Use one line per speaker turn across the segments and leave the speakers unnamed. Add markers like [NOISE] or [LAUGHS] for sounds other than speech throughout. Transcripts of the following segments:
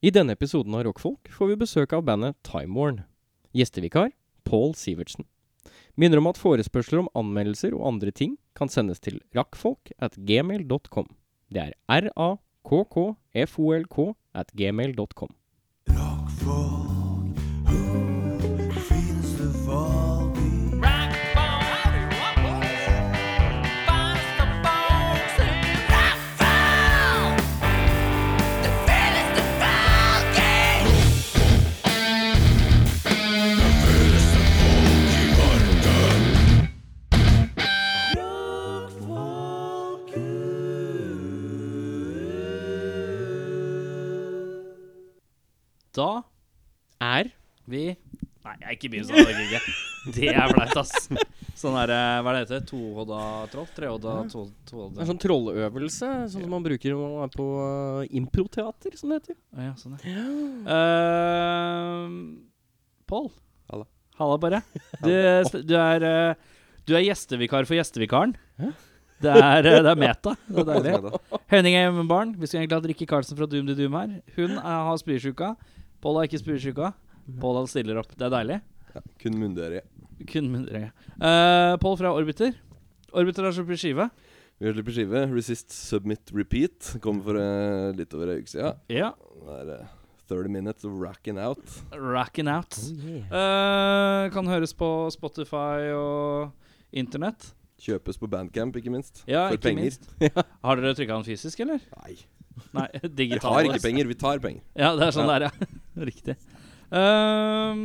I denne episoden av Rockfolk får vi besøk av bandet Time Warn. Gjestevikar Pål Sivertsen. Minner om at forespørsler om anmeldelser og andre ting kan sendes til rakkfolk at gmail.com. Det er r-a-k-k-f-o-l-k at gmail.com. Da er
Vi Nei, jeg ikke begynn sånn. Det gikk ikke. Det er flaut, ass. Sånn der, eh, hva er det heter Tohodda troll? Trehodda to-
det er
tohodda
en sånn trolleøvelse, sånn som man bruker når man er på eh, improteater, som det heter.
Å Ja, sånn, ja. Uh, Pål.
Halla.
[LAUGHS] Halla, bare. Du, du, er, eh, du er gjestevikar for gjestevikaren.
Hæ?
Det er, eh, det er [LAUGHS] meta. Det er deilig.
Fredag.
Høning er hjemmebarn. Vi skulle egentlig hatt Rikke Karlsen fra Doom to Doom her. Hun er, har spyrsjuka. Pål har ikke spyrsjuka. Pål stiller opp. Det er deilig.
Kun munndøre.
Kun mindre. Uh, Pål fra Orbiter. Orbiter har sluppet skive.
Vi slipper skive. Resist, Submit, Repeat. Kom for eh, litt over ei uke sida.
Ja.
Det er eh, 30 minutes of racking out.
Racking out. Eh, kan høres på Spotify og internett.
Kjøpes på Bandcamp, ikke minst.
Ja,
for
ikke
penger.
[LAUGHS]
minst. Har dere trykka den fysisk, eller?
Nei.
Nei, [LAUGHS]
Vi
digital.
har ikke penger, vi tar penger. [LAUGHS]
Ja, [LAUGHS] det er sånn det er, ja. Riktig. Ehm,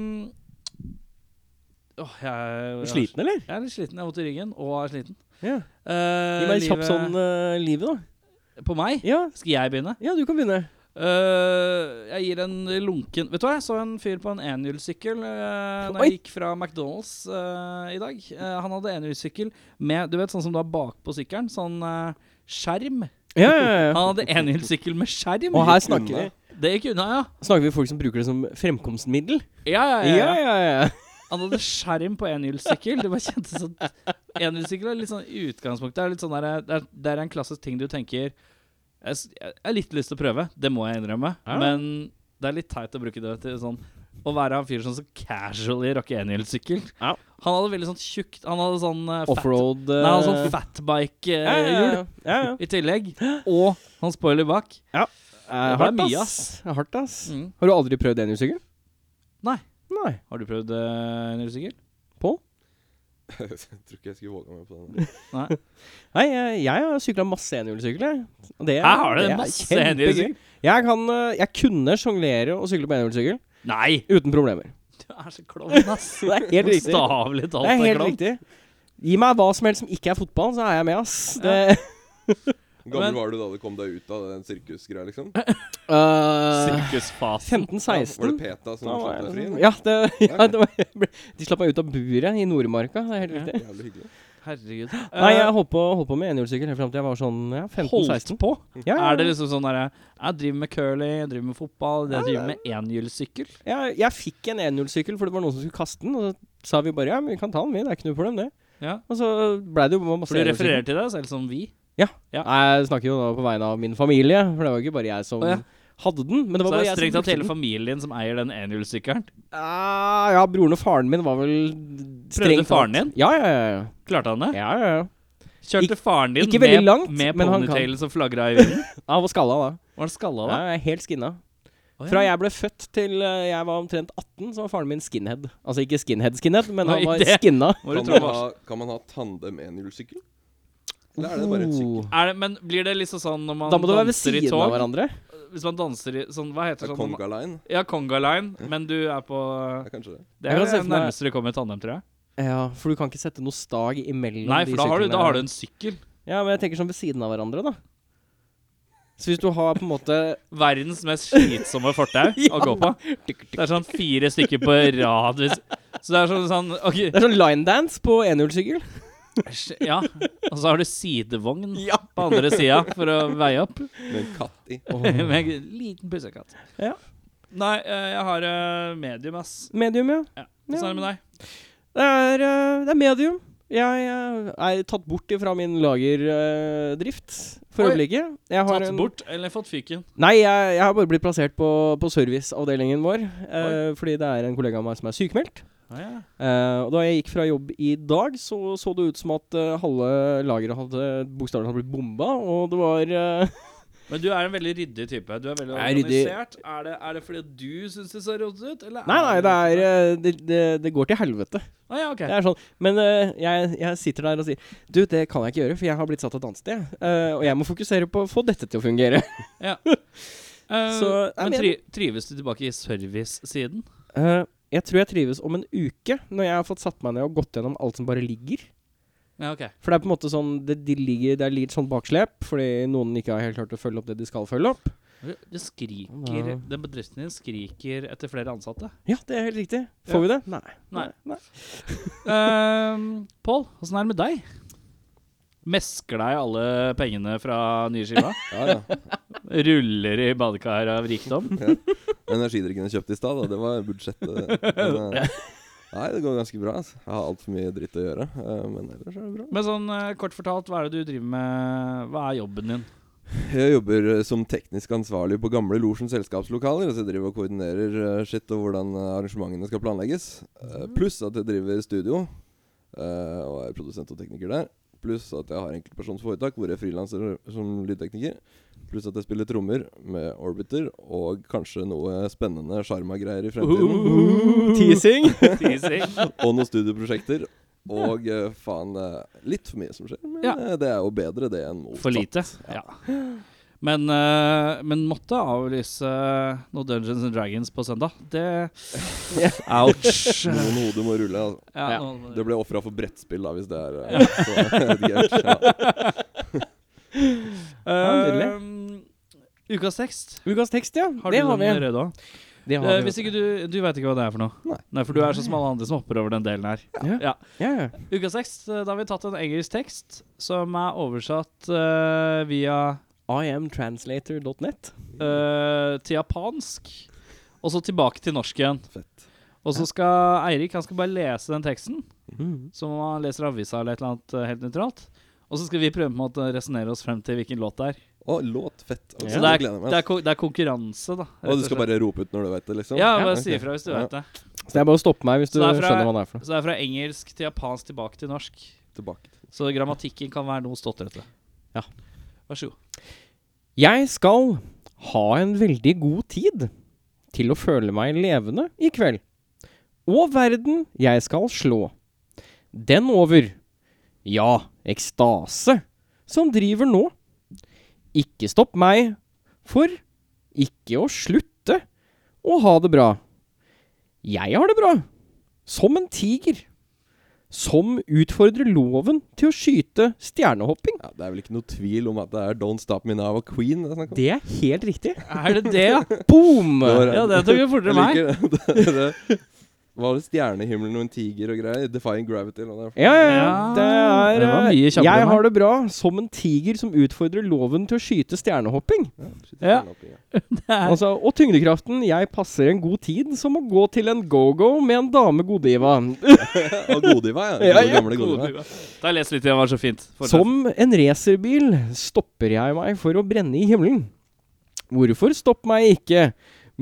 åh, jeg,
Er
jeg,
du Eh, sliten, eller?
Jeg er litt sliten. Jeg har vondt i ryggen og er sliten.
Ja.
Eh,
Gi meg en kjapp
livet-
sånn eh, livet, da.
På meg?
Ja,
Skal jeg begynne?
ja, du kan begynne.
Eh, jeg gir en lunken Vet du hva, jeg så en fyr på en enhjulssykkel uh, Når
Oi.
jeg gikk fra McDonald's eh, i dag. Eh, han hadde enhjulssykkel med Du vet sånn som du har bakpå sykkelen? Sånn eh, skjerm.
Ja, ja, ja.
Han hadde enhjulssykkel med skjerm.
Og her
Gikk
snakker vi,
unna.
Det gikk unna, ja.
snakker vi folk som bruker det som fremkomstmiddel.
Ja, ja, ja. ja.
ja, ja.
Han hadde skjerm på enhjulssykkel. Det bare kjentes sånn Enhjulssykkel er litt sånn i utgangspunktet er litt sånn der, det, er, det er en klassisk ting du tenker Jeg s- jeg har litt lyst til å prøve, det må jeg innrømme.
Ja.
Men det er litt teit å bruke det til sånn Å være han fyren som så casually rocker enhjulssykkel.
Ja.
Han hadde veldig sånn tjukt Han hadde sånn uh,
Offroad eh,
Nei, han hadde sånn fatbike-hjul.
ja, ja.
I tillegg. Og han spoiler bak.
Eh,
Det
hardt,
ble mye,
ass. Det er Hardt, ass.
Mm.
Har du aldri prøvd enhjulssykkel?
Nei.
Nei.
Har du prøvd eh, enhjulssykkel?
jeg tror ikke jeg skulle våga meg på den.
Nei.
Nei, jeg, jeg har sykla masse enhjulssykkel, jeg. Og det er-
Her har du
det er
masse
kjempegøy.
enhjulssykkel.
Jeg, kan, eh, jeg kunne sjonglere og sykle på enhjulssykkel
Nei!
uten problemer.
Du er så klovn, ass.
Så det er
[LAUGHS]
helt riktig. Det
Bokstavelig talt.
er helt
klovn.
riktig. Gi meg hva som helst som ikke er fotball, så er jeg med, ass. Det,
[LAUGHS]
Hvor
Men-
gammel var du da du kom deg ut av den sirkusgreia, liksom?
Eh,
Sirkusfasen.
Var det
15-16.
Peta som
Da var
slapp deg
jeg-
fri?
liksom-
eller?
Ja, det, [LAUGHS] ja
Ok.
det var, de slapp meg ut av buret i Nordmarka. Det er helt
Ja.
riktig.
Jævlig hyggelig.
[LAUGHS] Herregud.
Nei, jeg holdt på, holdt på med enhjulssykkel helt fram til jeg var sånn ja, 15-16.
Holdt på?
Ja, ja.
Er det liksom sånn derre Jeg driver med curly, jeg driver med fotball, jeg driver med enhjulssykkel.
jeg, jeg fikk en 1-0-sykkel, for det var noen som skulle kaste den. Og så sa vi bare ja, men vi kan ta den, vi. Det er ikke noe problem, det.
Ja.
Og så blei det jo masse
For du
1-0-sykkel.
refererer til deg selv som vi. ja.
Nei, jeg snakker jo da på vegne av min familie, for det var jo ikke bare jeg som
Å, ja.
hadde den. Men det
Så
var
det
bare
er
jeg
strengt
som
tatt hele
den.
familien som eier den enhjulssykkelen.
Ah, ja, broren og faren min var vel strengt
faren
tatt-
din?
Ja, ja, ja. ja.
Klarte han det?
ja, ja, ja.
Kjørte faren din
ikke
med,
veldig langt,
med
men han kan.
ponytailen som flagra i vinden?
Han var skalla da.
Var han skalla
Ja,
da?
jeg er helt skinna.
Å, ja.
Fra jeg ble født til eh, jeg var omtrent 18, så var faren min skinhead. Altså ikke skinhead-skinhead, men han
Oi,
var
det-
skinna.
Må du
Kan
tro
man
hva-
ha, kan man ha tandem-enhjulssykkel? Eller er det bare en sykkel?
Oh.
Er det, men blir det liksom sånn når man
Da må du være ved
danser i
siden av
tog?
hverandre.
Hvis man danser i sånn, Hva heter det
Det
sånn?
er
når man-
Conga Line?
Ja, Conga Line, men du er på
Det er kanskje det.
Jeg
Det er
kan se
det
for meg-
nærmeste du kommer tandem, tror jeg.
Ja, for du kan ikke sette noe stag imellom
Nei,
de
for da har, du, da
syklene.
har du en sykkel.
Ja, men jeg tenker sånn ved siden av hverandre, da. Så hvis du har på en måte
Verdens mest slitsomme fortau
[LAUGHS]
å gå på. Det er sånn fire stykker på rad. Hvis. Så det er sånn, sånn OK,
Det er sånn linedance på enhjulssykkel.
sj- ja. Og så har du sidevogn
Ja.
på andre sida for å veie opp.
Med en katt i.
[LAUGHS] Med en liten pussekatt.
Ja.
Nei, eh, jeg har eh, medium, ass.
Medium, ja.
Ja. Åssen er det med deg?
Det er, eh, det er medium. Jeg eh, er tatt bort ifra min lagerdrift eh, for
Oi.
øyeblikket. Jeg har
Tatt
en-
bort eller fått fyken?
Nei, jeg, jeg har bare blitt plassert på, på serviceavdelingen vår. eh, fordi det er en kollega av meg som er sykemeldt.
Ah, ja.
Eh, og da jeg gikk fra jobb i dag, så så det ut som at eh, halve lageret hadde bokstavelig talt blitt bomba. Og det var eh, [LAUGHS]
Men du er en veldig ryddig type. Du er veldig
Jeg er ryddig.
organisert. Er det, er det fordi at du syns det ser rotete ut? Eller
Nei, nei, det er eh, det, det, det går til helvete.
ah, ja, ok.
Det er sånn. Men eh, jeg, jeg sitter der og sier Du, det kan jeg ikke gjøre, for jeg har blitt satt et annet sted. eh, og jeg må fokusere på å få dette til å fungere. [LAUGHS]
Eh,
så- Nei,
men
men-
tri trives du tilbake i servicesiden?
Eh, jeg tror jeg trives om en uke, når jeg har fått satt meg ned og gått gjennom alt som bare ligger.
Ja, ok.
For det er på en måte sånn Det, de ligger, det er litt sånn bakslep, fordi noen ikke har helt klart å følge opp det de skal følge opp.
Det skriker
Ja.
Den bedriften din skriker etter flere ansatte.
Ja, det er helt riktig. Får
Ja.
vi det? Nei.
Nei. Um, Pål, åssen er det med deg? Mesker deg alle pengene fra nye [LAUGHS] skiva?
Ja, ja.
Ruller i badekar av rikdom?
Energidrikken jeg kjøpte i stad, da, det var budsjettet. Men, eh, nei, det går ganske bra. Altså. Jeg har altfor mye dritt å gjøre. eh, Men ellers er det bra.
Men sånn eh, kort fortalt, hva er det du driver med? Hva er jobben [LAUGHS] din?
Jeg jobber eh, som teknisk ansvarlig på gamle Losjen selskapslokaler. Så jeg driver og koordinerer eh, shit og hvordan eh, arrangementene skal planlegges. Eh, Pluss at jeg driver studio eh, og er produsent og tekniker der. Pluss at jeg har enkeltpersonsforetak hvor jeg frilanser som lydtekniker. Pluss at jeg spiller trommer med Orbiter og kanskje noe spennende sjarmagreier i fremtiden.
Uh,
[LAUGHS]
teasing.
Og noen studioprosjekter. Og eh, faen, eh, litt for mye som skjer. Men
Ja.
eh, det er jo bedre det enn motsatt.
[LAUGHS] For lite. Ja. Men, eh, men måtte avlyse noe Dungeons and Dragons på søndag. Det [LAUGHS] Ouch.
Noen hoder må rulle. altså
Ja,
Ja.
nå-
Det ble ofra for brettspill, da, hvis det er eh, [LAUGHS] så- ja.
[LAUGHS]
Ja,
Eh, Ukas tekst.
Ukas tekst, ja.
Har
det,
du
har vi.
den røde òg?
det har vi.
hvis ikke du Du veit ikke hva det er for noe?
Nei.
for du er sånn som alle andre som hopper over den delen her.
Ja.
Ja.
Ja, ja.
Ukas tekst. eh, Da har vi tatt en engelsk tekst som er oversatt eh, via
Iamtranslator.net.
eh, til japansk, og så tilbake til norsk igjen.
Fett.
Og så skal Eirik han skal bare lese den teksten,
Mm.
som om han leser avisa eller et eller annet eh, helt nøytralt. Og så skal vi prøve på en måte å resonnere oss frem til hvilken låt det er.
Å, låt. Fett. Ok,
Så det
det
er,
gleder jeg meg.
det er, ko- det er konkurranse, da. rett
og du skal
slett.
bare rope ut når du vet det, liksom?
Ja, bare
ok.
si ifra hvis du
Ja.
vet det.
Så det er bare å stoppe meg hvis du
Så det er fra-
skjønner hva det er for noe.
Så det er fra engelsk til japansk tilbake til norsk.
Tilbake.
Så grammatikken kan være noe stotrete.
Ja.
Vær så god.
Jeg skal ha en veldig god tid til å føle meg levende i kveld. Og verden jeg skal slå. Den over. Ja, ekstase som driver nå. Ikke stopp meg for ikke å slutte å ha det bra. Jeg har det bra. Som en tiger. Som utfordrer loven til å skyte stjernehopping.
Ja, det er vel ikke noe tvil om at det er Don't Stop Me Now og Queen det er snakk om?
Det er helt riktig.
Er det
[LAUGHS]
det, ja?
Boom!
var-
Ja, det tok jo fortere enn meg.
Jeg liker det. [LAUGHS] det. det var det stjernehimmelen og en tiger og greier? Defying Gravity eller noe der.
Ja, ja, ja.
Ja,
Det er
den var
eh,
mye kjappere
Jeg
enn meg.
har det bra som en tiger som utfordrer loven til å skyte stjernehopping.
Ja, shit,
Ja.
stjernehopping, ja.
Altså, og tyngdekraften. Jeg passer en god tid som å gå til en go-go med en dame godiva.
Mm,
Og Godiva, ja.
Ja,
Gode,
ja,
gamle Godiva.
Da les litt, det var så fint. Fortsett.
Som en racerbil stopper jeg meg for å brenne i himmelen. Hvorfor stopp meg ikke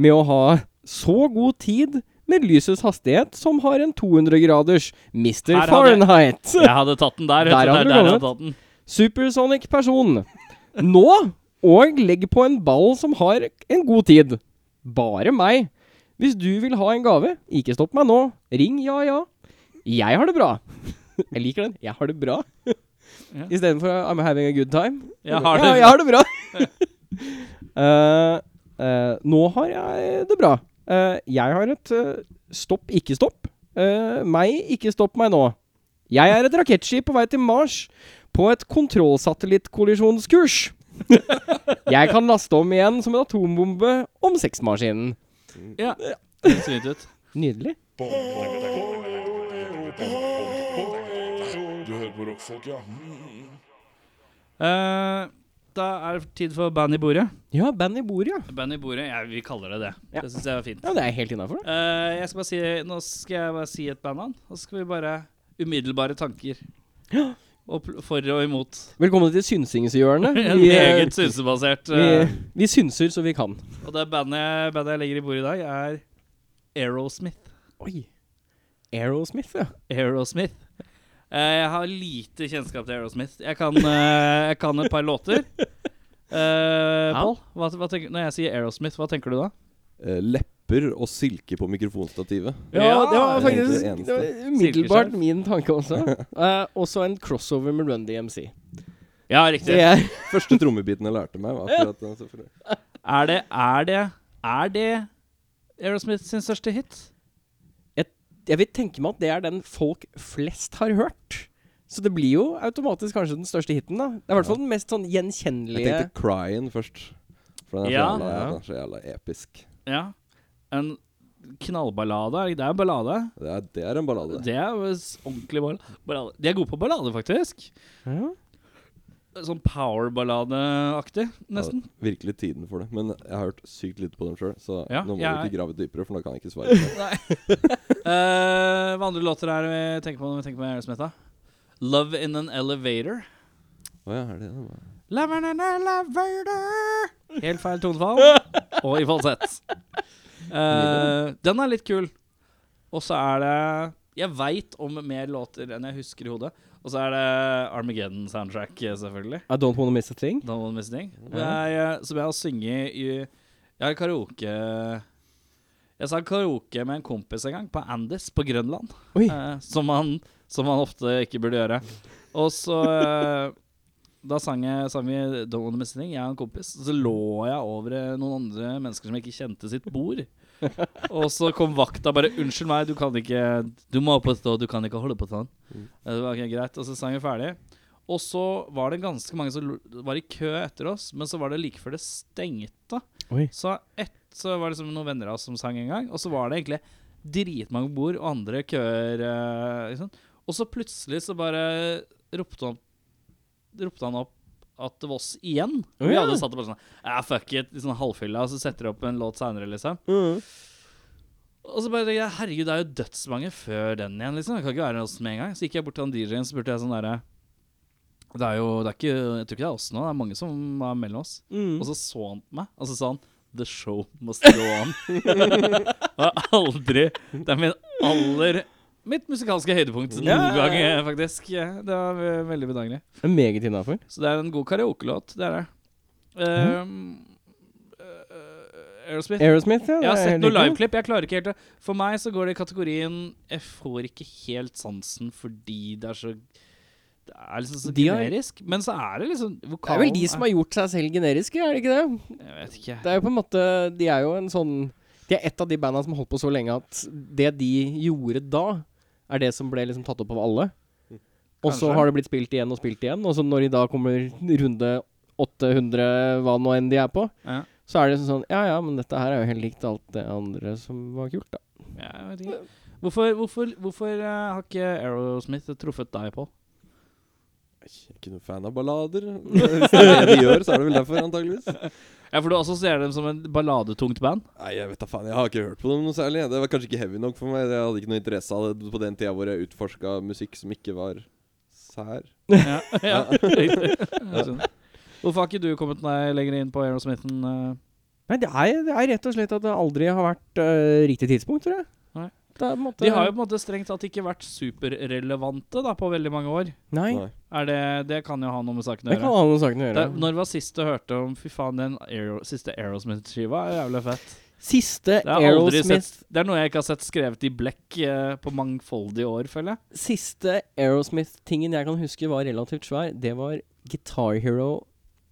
med å ha så god tid med lysets hastighet som har en 200-graders Mr.
Her hadde-
Fahrenheit?
Jeg hadde tatt den der.
Der
vet du.
hadde du
jeg
kommet.
tatt den.
Supersonic person. Nå og legg på en ball som har en god tid. Bare meg. Hvis du vil ha en gave, ikke stopp meg nå. Ring ja ja. Jeg har det bra. Jeg liker den. Jeg har det bra.
Ja.
Istedenfor I'm having a good time. [LAUGHS]
Jeg har det.
Ja, jeg har det bra. Eh, eh, nå har jeg det bra. Eh, jeg har et eh, stopp, ikke stopp. Eh, meg, ikke stopp meg nå. Jeg er et rakettskip på vei til Mars på et kontrollsatellittkollisjonskurs. [LAUGHS] jeg kan laste om igjen som en atombombe om sexmaskinen.
Ja. Det ser fint ut.
Nydelig.
Du hører på rockfolk, ja.
Eh, da er det tid for band i bordet.
Ja, band i bordet, ja.
Band i bordet, ja, vi kaller det det.
Ja.
Det syns jeg var fint.
Ja, Det er helt innafor, det. [GASPS]
Eh, jeg skal bare si, nå skal jeg bare si et bandnavn, og så skal vi bare Umiddelbare tanker. Og pl- for og imot. [LAUGHS]
Velkommen til [LAUGHS] synsingshjørnet.
En
Vi, eh,
meget synsebasert
vi,
eh,
vi synser så vi kan.
Og det bandet, bandet jeg legger i bordet i dag, er Aerosmith.
Oi. Aerosmith, ja.
Aerosmith. Eh, jeg har lite kjennskap til Aerosmith. Jeg kan, eh, jeg kan et par låter. Eh, Pål, hva, hva tenker- når jeg sier Aerosmith, hva tenker du da?
Eh, lepper og silke på mikrofonstativet.
Ja, det var
det er egentlig
faktisk
det
det
eneste.
var umiddelbart
Silkeskjerf.
min tanke [LAUGHS] også. Eh, også en crossover med Run DMC.
Ja,
Det
riktig.
er
Første trommebiten jeg lærte meg, var akkurat den. så for-
Er det, er det, er det Aerosmith sin største hit?
[LAUGHS] Jeg vil tenke meg at det er den folk flest har hørt. Så det blir jo automatisk kanskje den største hiten, da. Det er i hvert fall den mest sånn
Jeg
gjenkjennelige
tenkte Cryin først. For den er,
Ja.
så jævla, den er så jævla episk.
Ja. En knallballade. er det- Det er en ballade.
Det er, det er en ballade.
Det er jo s- ordentlig ball- ballade. De er gode på ballade, faktisk.
ja.
Sånn powerballadeaktig, [LAUGHS] nesten.
Virkelig tiden for det. Men jeg har hørt sykt lite på dem sjøl, så
Ja,
nå må
jeg-
du ikke grave dypere, for nå kan jeg ikke svare. på det.
Eh, hva andre låter er det vi tenker på når vi tenker på Aerosmith? da? Love in an Elevator.
Å ja, er det det?
Love in an elevator Helt feil tonefall. Og i falsett. Eh, den er litt kul. Og så er det Jeg veit om mer låter enn jeg husker i hodet. Og så er det Armageddon-soundtrack, eh, selvfølgelig.
I don't wanna miss a thing.
Don't Want Miss Thing.
Ja.
Jeg, eh, som jeg har sunget i Jeg har karaoke Jeg sang karaoke med en kompis en gang, på Andis på Grønland.
Oi.
eh, som, man, som man ofte ikke burde gjøre. Og så eh, Da sang, jeg, sang vi Don't Want Miss Thing, jeg og en kompis. Og så lå jeg over eh, noen andre mennesker som ikke kjente sitt bord.
[LAUGHS]
Og så kom vakta bare 'Unnskyld meg, du kan ikke Du må opp og stå, du kan ikke holde på sånn'. Eh, Det var ok, greit, Og så sang vi ferdig. Og så var det ganske mange som lo- var i kø etter oss, men så var det like før det stengte.
Oi.
Så, ett, så var det liksom noen venner av oss som sang en gang, og så var det egentlig dritmange bord og andre køer. eh, Liksom. Og så plutselig så bare ropte han, ropte han opp at det var oss igjen. Og vi
Ja.
hadde satt det bare sånn Ja, fuck it. Litt sånn halvfylla, og så setter de opp en låt seinere, liksom.
Mm.
Og så bare tenker jeg, herregud, det er jo dødsmange før den igjen, liksom. Det kan ikke være oss med en gang. Så gikk jeg bort til han DJ-en, så spurte jeg sånn derre Det er jo det er ikke, Jeg tror ikke det er oss nå, det er mange som er mellom oss.
Mm.
Og så så han på meg, og så sa han The show must go
[LAUGHS]
on. Det var aldri Det er min aller Mitt musikalske høydepunkt noen
Mm. Ja, ja,
gang,
ja.
eh, faktisk. Ja, Det var ve- veldig bedagelig.
Det er meget innafor.
Så det er en god karaokelåt, det er det.
Mm.
Ehm, eh, Aerosmith.
Aerosmith, ja. det
Jeg har
er
sett
helt
noen
riktig.
liveklipp. Jeg klarer ikke helt det. For meg så går det i kategorien Jeg får ikke helt sansen fordi det er så Det er liksom så
De har-
generisk. Men så er det liksom
Det er vel de som har gjort seg selv generiske, er det ikke det?
Jeg vet ikke.
Det er jo på en måte De er jo en sånn De er et av de banda som holdt på så lenge at det de gjorde da, er det som ble liksom tatt opp av alle. Og så
Kanskje.
har det blitt spilt igjen og spilt igjen, og så når de da kommer runde 800, hva nå enn de er på,
Ja,
så er det liksom sånn Ja ja, men dette her er jo helt likt alt det andre som var kult, da.
jeg vet ikke. Hvorfor, hvorfor, hvorfor eh, har ikke Aerosmith truffet deg, Pål?
Jeg er Ikke noen fan av ballader. Hvis det er det de gjør, så er det vel derfor, antageligvis.
Ja, for du assosierer dem som en balladetungt
[LAUGHS]
band.
Nei, jeg vet da faen. Jeg har ikke hørt på dem noe særlig. Det var kanskje ikke heavy nok for meg. Jeg hadde ikke noe interesse av det på den tida hvor jeg utforska musikk som ikke var sær.
Ja, ja. riktig. Jeg skjønner. Hvorfor har ikke du kommet deg lenger inn på Aerosmithen? eh?
Nei, det er, det er rett og slett at det aldri har vært øh, riktig tidspunkt, tror jeg.
Nei.
Det er på en måte
De har jo på en måte strengt tatt ikke vært superrelevante da, på veldig mange år.
Nei.
Nei.
Er det, det kan jo ha noe med saken å
Det kan
gjøre.
ha noe med saken å
Det,
gjøre.
når var sist du hørte om Fy faen, den Aero, siste Aerosmith-skiva er jævlig fett.
Siste
Det, har jeg aldri
Aerosmith
sett, det er noe jeg ikke har sett skrevet i blekk eh, på mangfoldige år, føler jeg.
Siste Aerosmith-tingen jeg kan huske var relativt svær, det var Guitar Hero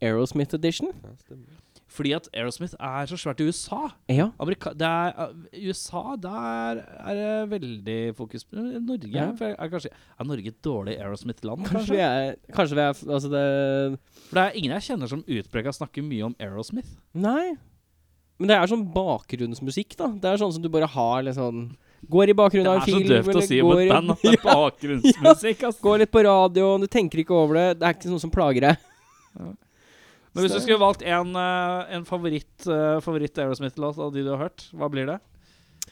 Aerosmith Edition.
Ja, stemmer.
Fordi at Aerosmith er så svært i USA.
Ja.
Amerika det er, eh, USA, der er det veldig fokus på Norge
Ja.
for er, kanskje, er Norge et dårlig Aerosmith-land,
Kanskje vi
kanskje?
er Kanskje vi er f- Altså, det
For det er ingen jeg kjenner som utpreka snakker mye om Aerosmith.
Nei. Men det er sånn bakgrunnsmusikk, da. Det er sånn som du bare har liksom Går i
Det
bakgrunnen av
er
en
så
film.
døvt å
eller
si om
går i-
et
[LAUGHS]
band at det er bakgrunnsmusikk, ass.
Går litt på radioen, du tenker ikke over det. Det er ikke noe som plager deg.
Men hvis du
Så-
skulle valgt en, eh, en favoritt, eh, favoritt Aerosmith-låt av de du har hørt, hva blir det?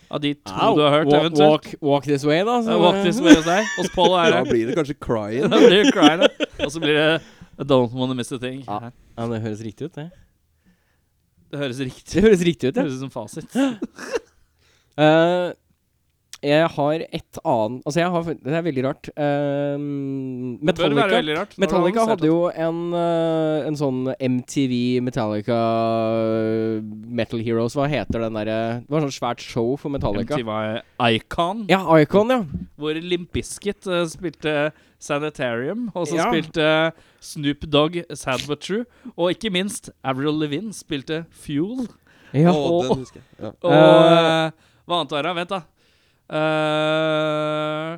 Av de to
Au.
du har hørt,
walk,
eventuelt.
walk, walk this way, da.
Det er Walk this way hos deg. Hos
[LAUGHS]
Paul er
Da
det.
blir det kanskje
[LAUGHS]
crying.
Da blir det cry, da. Og så blir det I don't wanna miss a thing.
Ja. Ja, men det høres riktig ut, det.
Det høres riktig
Det høres riktig ut,
Det
ja.
høres ut som
[LAUGHS]
fasit.
Eh, jeg har et annet Altså, jeg har fun- Det er veldig rart. Eh,
Det bør være
Metallica
veldig rart. når
Metallica
han
hadde jo en, eh, en sånn MTV Metallica eh, Metal Heroes, hva heter den derre Det var sånn svært show for Metallica.
MTV Icon,
Ja, Icon, ja.
hvor Limp Bizkit eh, spilte Sanitarium, og så
Ja.
spilte Snoop Dogg Sad But True, og ikke minst Avril Levine spilte Fuel.
ja.
Å,
og-
den husker jeg. Ja.
Og
Eh.
eh, hva annet var det? Vent, da. Eh,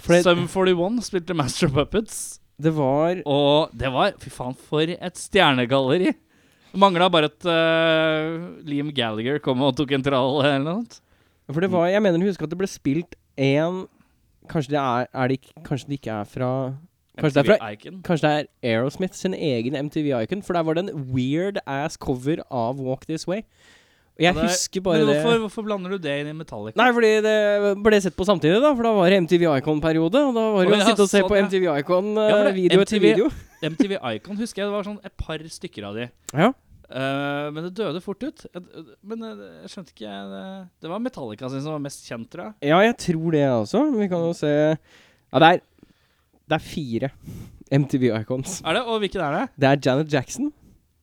For det,
Sum 41 spilte Master of Puppets.
det var
Og det var Fy faen, for et stjernegalleri! Mangla bare at eh, Liam Gallagher kom og tok en trall eller noe sånt.
For det var Jeg mener å huske at det ble spilt én Kanskje det er, er det ikke, Kanskje det ikke er fra Kanskje det er fra
MTV Icon.
Kanskje det er Aerosmith sin egen MTV Icon, for der var det en weird ass cover av Walk This Way. Og jeg
Ja, det er-
husker bare
Men
det
hvorfor, hvorfor blander du det inn i Metallica?
Nei, fordi det ble sett på samtidig, da. For da var det MTV Icon-periode. Og da var det jo
Å,
å
ja,
sitte og se
sånn,
på
ja.
MTV Icon eh,
Ja, for det-
video etter
MTV
video.
MTV Icon husker jeg det var sånn et par stykker av de.
Ja.
Eh, men det døde fort ut. Jeg- Men eh, jeg skjønte ikke eh, Det var Metallica sin som var mest kjent, tror jeg.
ja, jeg tror det også. Vi kan jo se Ja, det er, det er fire MTV Icons.
Er det? Og hvilken er det?
Det er Janet Jackson,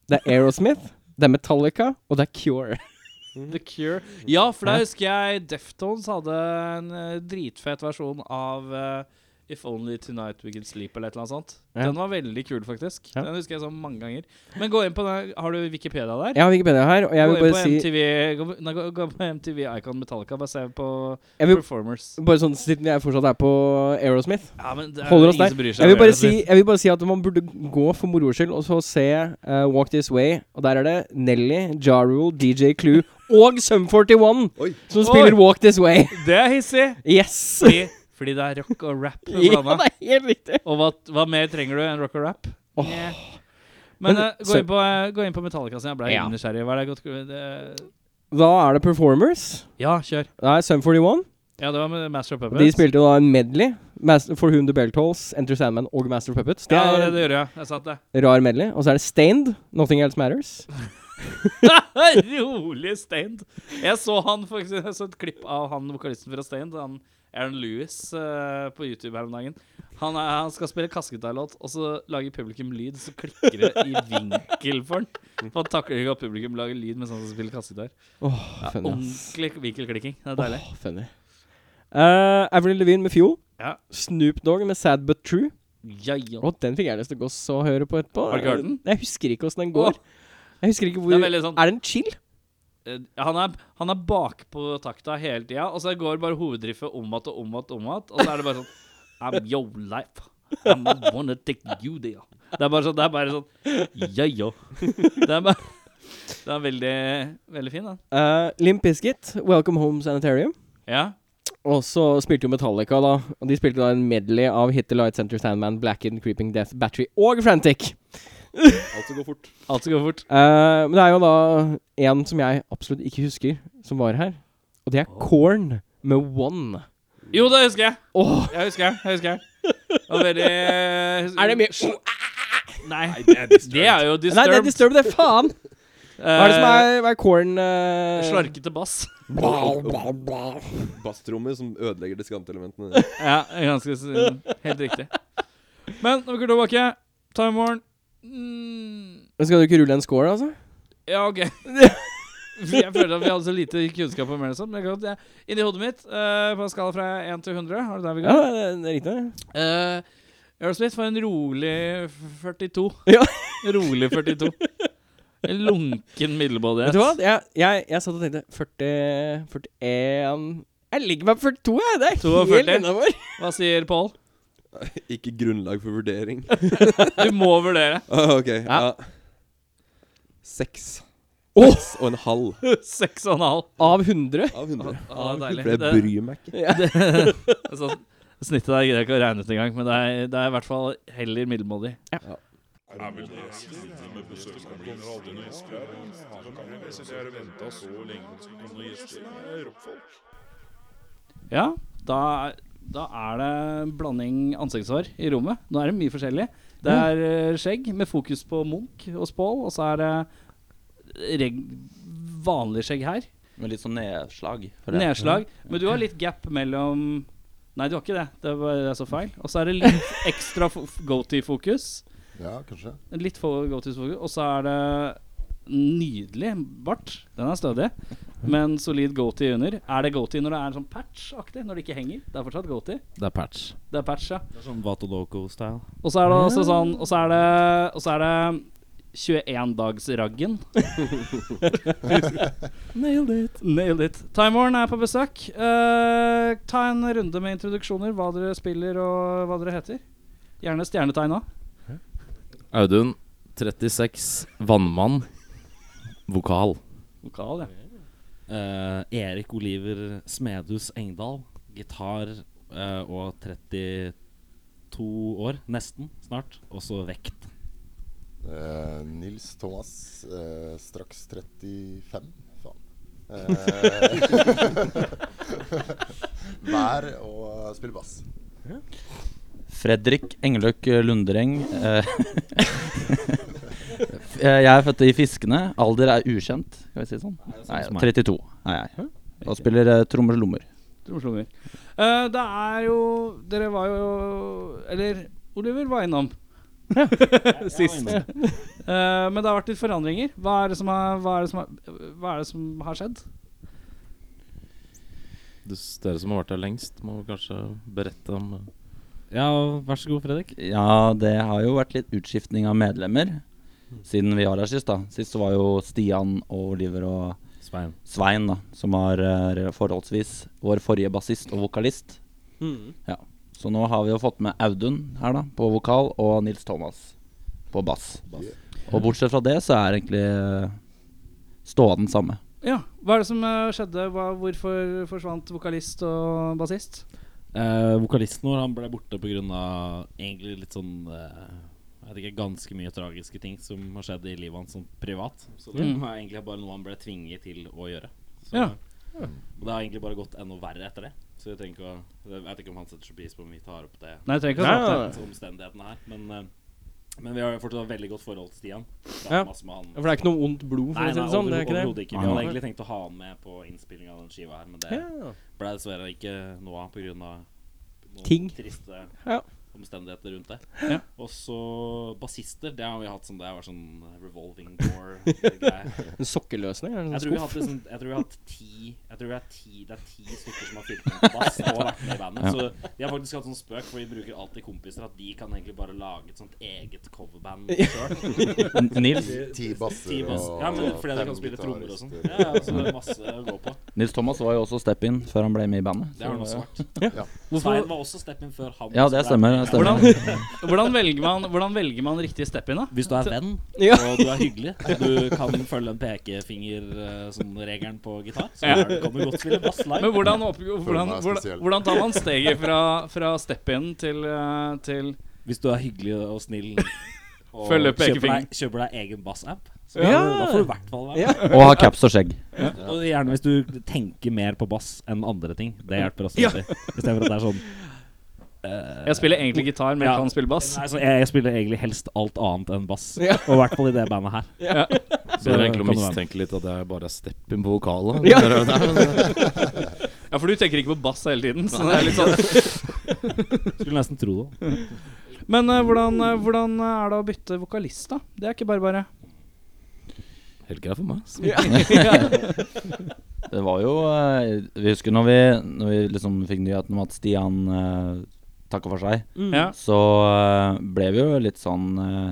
det er Aerosmith, det er Metallica, og det er Cure. [LAUGHS]
The Cure. Ja, for da husker jeg Deftones hadde en eh, dritfet versjon av eh, If Only Tonight We Could Sleep eller et eller annet sånt.
Ja.
Den var veldig kul, faktisk.
Ja.
Den husker jeg sånn mange ganger. Men gå inn på den. Har du Wikipedia der?
Jeg har Wikipedia her, og jeg
gå
vil
inn
bare
på
si
MTV, gå, nei, gå, gå på MTV Icon Metallica. Bare se på
jeg vil,
performers.
Bare sånn siden jeg fortsatt er på Aerosmith.
Ja, men det er
Holder oss
ingen
der.
som bryr seg.
Jeg vil,
om
bare
det,
si, jeg vil bare si at man burde gå for moro skyld og så se eh, Walk This Way. Og der er det Nelly, Ja Rule, DJ Clue og Sum41
Oi.
som
Oi.
spiller Walk This Way. [LAUGHS]
Det er hissig!
Yes!
Fordi, fordi det er rock og rap.
[LAUGHS] Ja,
blanda.
det er helt riktig.
Og hva, hva mer trenger du enn rock og rap?
Åh.
Nye. Men,
Men,
eh, gå,
så-
inn på, eh, gå inn på Metallica, så jeg ble
Ja.
nysgjerrig. Hva er det godt det,
Da er det Performers.
Ja, kjør.
Det er Sum41.
Ja, det var med Master of Puppets.
De spilte jo da en medley. Master, for Whom the Bell Tolls, Enter Sandman og Master of Puppets. Det
Ja, det,
er
det gjorde jeg. Jeg satt
[LAUGHS]
det.
rar medley. Og så er det Stained, Nothing Else Matters.
[LAUGHS] Rolig Stained. Jeg så han faktisk, jeg så et klipp av han vokalisten fra Stained, han Aaron Lewis, eh, på YouTube her om dagen. Han, er, han skal spille kassegitarlåt, og så lager publikum lyd, så klikker det i vinkel for han. For han takler ikke at publikum lager lyd mens han skal spille kassegitar.
Åh,
Ja,
funny, ass.
ordentlig vinkelklikking. Det er deilig.
Åh, funny. Eh, Avril Levine med Fuel.
Ja.
Snoop Dogg med Sad But True.
Ja, ja.
Og den fikk jeg lyst til å gå så høre på etterpå.
Har du ikke hørt den?
Jeg husker ikke åssen den går. Jeg husker ikke hvor
Det
er,
er veldig sånn-
den chill?
Eh, Han er, han er bakpå takta hele tida, og så går bare hovedriffet om igjen og om igjen. og om igjen, Og så er det bare sånn I'm your life. I'm a wanna take you there. Det er bare sånn, det er bare sånn Ja, ja. Det er, bare, det er veldig, veldig fin, da.
Uh, Limp Bizkit, Welcome Home Sanitarium.
Ja.
Og så spilte jo Metallica, da. Og de spilte da en medley av Hit the Light Center Sandman, Blackened, Creeping Death, Battery og Frantic.
Alt som går fort.
Alt som går fort.
Eh, men det er jo da en som jeg absolutt ikke husker, som var her. Og det er Korn med One.
Jo, det husker jeg.
Åh,
Jeg husker jeg, jeg. husker jeg. Det var veldig
er det mye
Nei.
det er
Det er jo
Nei, det er
disturbed.
Disturbed, det er faen! Hva er det som er, hva er Korn uh...
Eh, Slarkete bass.
Basstrommer som ødelegger diskantelementene.
Ja, ganske s- Helt riktig. Men når vi går tilbake Time Warn mm,
Skal du ikke rulle en score, altså?
Ja, OK. [LAUGHS] Jeg føler at vi hadde så lite kunnskap om Melson. Men det er godt, jeg, inni hodet mitt, eh, på en skala fra 1 til 100 Har du der vi
Ja,
går?
det er- det er riktig. det.
Eh, Aerosmith får en rolig f- 42.
Ja.
[LAUGHS] rolig 42. En lunken middelmådighet.
Vet du hva? Jeg, jeg, jeg satt og tenkte 40, 41 Jeg ligger meg på 42, jeg. Det er
42.
helt innafor.
Hva sier Paul?
[LAUGHS] Ikke grunnlag for vurdering.
Du må vurdere.
Ah, ok, ja.
Ja.
Seks.
Åh!
Seks og en halv
6,5.
Av 100.
av hundre.
Ah, deilig.
For jeg
Det-
bryr meg ikke.
Altså, snittet der gidder jeg ikke å regne ut engang, men det er, det er i hvert fall heller middelmådig.
Ja.
Ja.
Er vel det siste med besøkskompliser noen gjester her? Hvem kan det? Jeg synes jeg har venta så lenge på at det skal komme noen gjester. Det er rockfolk.
Ja, da, da er det en blanding ansiktshår i rommet. Nå er det mye forskjellig. Det er eh, skjegg med fokus på Munch og Spål, og så er det reg vanlig skjegg her.
Med litt sånn nedslag. føler jeg.
Nedslag. Men du har litt gap mellom Nei, du har ikke det. Det var det er så feil. Og så er det litt ekstra go-to-fokus.
Ja, kanskje.
Litt go-to-fokus. Og så er det nydelig bart. Den er stødig. Men solid go-to under. Er det go-to når det er sånn patch-aktig? Når det ikke henger? Det er fortsatt go-to.
Det er patch.
Det er patch, ja.
Det er sånn Vato Loco-style.
Og så er det også sånn Og så er det, og så er det 21-dagsraggen. [LAUGHS] Nailed it. Nailed it. Time Warn er på besøk. Eh, ta en runde med introduksjoner. Hva dere spiller, og hva dere heter. Gjerne stjernetegn òg.
Audun, 36, vannmann, vokal.
Vokal, ja.
Eh, Erik Oliver Smedhus Engdahl. Gitar eh, og 32 år, nesten, snart. Og så vekt.
Eh, Nils Thomas, eh, straks 35. Faen. Eh, [LAUGHS] Vær og spiller bass.
Fredrik Engeløk Lundereng. eh, [LAUGHS] jeg er født i Fiskene. Alder er ukjent, skal vi si det sånn. Nei, 32 er jeg. Og spiller eh, trommer og lommer.
Tromslommer. Eh, det er jo Dere var jo Eller Oliver var [LAUGHS] innom. Sist. Eh, men det har vært litt forandringer. Hva er det som har, hva er det som har, hva er det som har skjedd?
Du, dere som har vært her lengst, må kanskje berette om Ja, vær så god, Fredrik.
Ja, det har jo vært litt utskiftning av medlemmer siden vi var her sist. da Sist så var jo Stian og Oliver og
Svein.
Svein, da som var eh, forholdsvis vår forrige bassist og vokalist.
Mm.
Ja. Så nå har vi jo fått med Audun her da på vokal og Nils Thomas på bass. Og bortsett fra det så er egentlig eh, ståa den samme.
Ja, Hva er det som eh, skjedde? Hva, hvorfor forsvant vokalist og bassist?
Eh, vokalisten vår han ble borte pga. egentlig litt sånn eh, Jeg vet ikke, ganske mye tragiske ting som har skjedd i livet hans sånn privat. Så det
Mm.
var egentlig bare noe han ble tvinget til å gjøre. Så,
Ja.
Og det har egentlig bare gått enda verre etter det. Så jeg, trenger ikke å, jeg vet ikke om han setter så pris på om vi tar opp det.
Nei, jeg trenger ikke å
Nei,
snakke.
nei, nei. omstendighetene her. Men, eh, men vi har jo fortsatt et veldig godt forhold til Stian. Prater
Ja.
masse med han.
For det er ikke noe ondt blod, for
Nei,
å si
nei,
det sånn? Det er
overho-
ikke
overhodet
det?
ikke. Vi hadde egentlig tenkt å ha han med på innspillinga av den skiva her, men det
Ja.
ble dessverre ikke noe av pga. noen
Ting.
triste
Ja.
omstendigheter rundt det.
Ja.
Og så bassister. Det har vi hatt som det har vært sånn revolving
[LAUGHS]
door-greie.
En sokkeløsning? Er det
Jeg
en
tror vi
skuff?
har hatt liksom, jeg tror vi har hatt ti Jeg tror vi er ti Det er ti stykker som har fylt med på bass og vært med i bandet. Så de har faktisk hatt sånn spøk, for de bruker alltid kompiser, at de kan egentlig bare lage et sånt eget coverband sjøl.
N- Nils,
Ti basser og
Ja, men fordi de
fem
kan spille trommer og sånn.
gitarister.
Ja, ja, så det er masse å gå på.
Nils Thomas var jo også step-in før han ble med i bandet.
Det har han også vært. Svein
Hvorfor,
var også step-in før han.
Ja, det
også ble
stemmer.
med.
det
hvordan,
stemmer.
hvordan, velger man, hvordan velger man riktig step in, da?
Hvis du er venn,
Ja.
og du er hyggelig, og du kan følge en pekefinger eh, som regelen på gitar, så
Ja.
er du- kan du godt spille bass live.
Men hvordan, opp, hvordan,
meg
hvordan,
spesiell.
hvordan tar man steget fra, fra step in til, eh, til
Hvis du er hyggelig og snill og
Følger
kjøper
pekefingeren.
deg, kjøper deg egen bassapp, så
Ja.
da får du i hvert fall være med.
Ja.
[LAUGHS] Og har caps og skjegg.
Og gjerne hvis du tenker mer på bass enn andre ting. Det hjelper også. alltid. I stedet for at det er sånn
Jeg spiller egentlig gitar, men jeg
Ja.
kan spille bass.
Nei, så jeg, jeg spiller egentlig helst alt annet enn bass.
Ja.
Og i hvert fall i det bandet her.
Så det er egentlig
kan
å
det være.
mistenke litt at det er bare steppen på vokalet.
Ja.
Dere-
Ja, for du tenker ikke på bass hele tiden. Så det er litt sånn.
Skulle nesten tro det.
Men eh, hvordan, eh, hvordan er det å bytte vokalist, da? Det er ikke bare bare.
Helt greit for meg. ass.
Det var jo eh, Vi husker når vi, når vi liksom fikk nyheten om at Stian uh, takka for seg,
Ja.
så eh, ble vi jo litt sånn eh,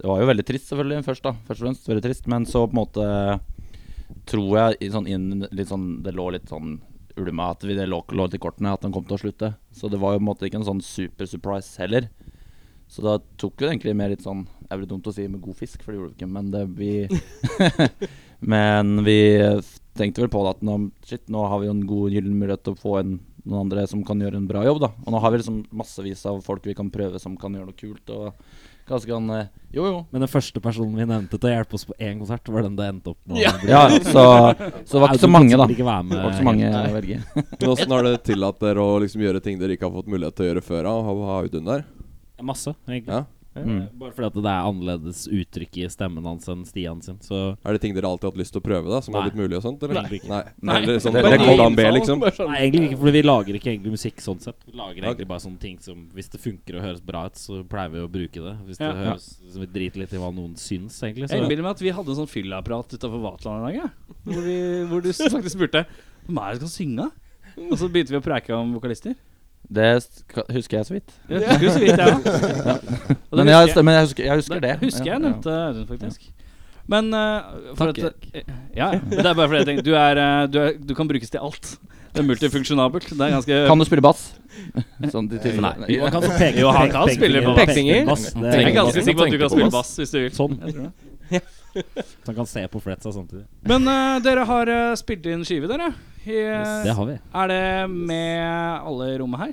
Det var jo veldig trist, selvfølgelig, først da først og fremst. Veldig trist, men så på en måte tror jeg i sånn inn, litt sånn, det lå litt sånn ulma at vi, det lå, lå til kortene at han kom til å slutte. Så det var jo på en måte ikke en sånn super surprise heller. Så da tok vi det egentlig mer litt sånn Det er vel dumt å si med god fisk, for det gjorde vi ikke, men det vi Men vi tenkte vel på det at nå, shit, nå har vi jo en god gyllen mulighet til å få en, noen andre som kan gjøre en bra jobb, da. Og nå har vi liksom massevis av folk vi kan prøve som kan gjøre noe kult, og Ganske han eh, Jo, jo.
Men den første personen vi nevnte til å hjelpe oss på én konsert, var den det endte opp med. å bli.
Ja, så, så det var ikke så mange, da.
Ikke være
Det
med
var ikke så mange å velge.
Men Åssen har det tillatt dere å liksom gjøre ting dere ikke har fått mulighet til å gjøre før? da, og Ha, ha ut under?
Masse, egentlig.
Ja.
Eh,
Mm.
Bare fordi at det er annerledes uttrykk i stemmen hans enn Stian sin. Så
Er det ting dere alltid har hatt lyst til å prøve? da Som har
Nei.
blitt mulig og sånt? Eller?
Egentlig ikke.
Nei.
Nei.
Eller sånn
Det-
plan
det kom-
plan B, liksom?
Bare sånn.
Nei, egentlig ikke, for vi lager ikke egentlig musikk sånn sett. Vi lager
Ok.
egentlig bare sånne ting som Hvis det funker og høres bra ut, så pleier vi å bruke det. Hvis det
Ja.
høres som vi driter litt i hva noen syns, egentlig.
Jeg
Så
innbiller meg at vi hadde en sånn fyllaprat utafor Vatland en dag. Ja. Hvor, vi, hvor
[LAUGHS]
du s- faktisk spurte hvem er det som skal synge. Og så begynte vi å preike om vokalister.
Det sk- husker jeg så vidt.
Jeg husker jo så vidt, jeg òg.
Men jeg, men jeg husker, jeg husker det.
Husker jeg
Ja, ja.
nevnte Audun, faktisk. Men eh, for
Takk,
at, eh, ja, ja. Det er bare fordi jeg tenker du, er, eh, du, er, du kan brukes til alt. Det er multifunksjonabelt. Det er ganske
Kan du spille bass? Sånn til til-
Nei. Man
[LAUGHS]
kan så peke,
Jo, han
peke-
kan
peke-
spille på
peke-
pekefinger.
bass. Det
Jeg
er
er ganske sikker på at du kan
på
spille
oss.
bass hvis du vil.
Sånn.
Jeg tror [LAUGHS] det.
Så han kan se på fretsa samtidig.
Men eh, dere har eh, spilt inn skive, dere. I-
Det har vi.
Er det med alle i rommet her?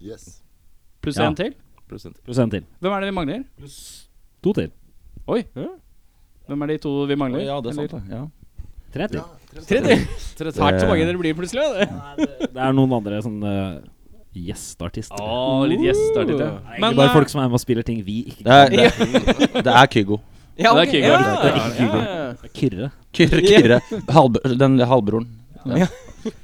Yes.
Pluss
Ja.
én til?
Pluss en til.
Hvem er det vi mangler?
To til.
Oi! Hvem er de to vi mangler?
Ja, det er sant,
Eller-
det. Ja.
Tre til.
Ja,
[LAUGHS]
tre
Tredje. Så det tar ikke så mange dere blir plutselig. Det.
Det er noen andre sånne gjestartister.
Å, litt eh, gjester til det.
Det er Egentlig bare folk som er med og spiller ting vi ikke
Det, er, det, det er Kygo.
Ja,
Det er
ok,
Kygo,
ja,
det er
ja,
Kygo.
ja.
Kyrre.
Kyrre, Kyrre. Halvb den halvbroren. Ja.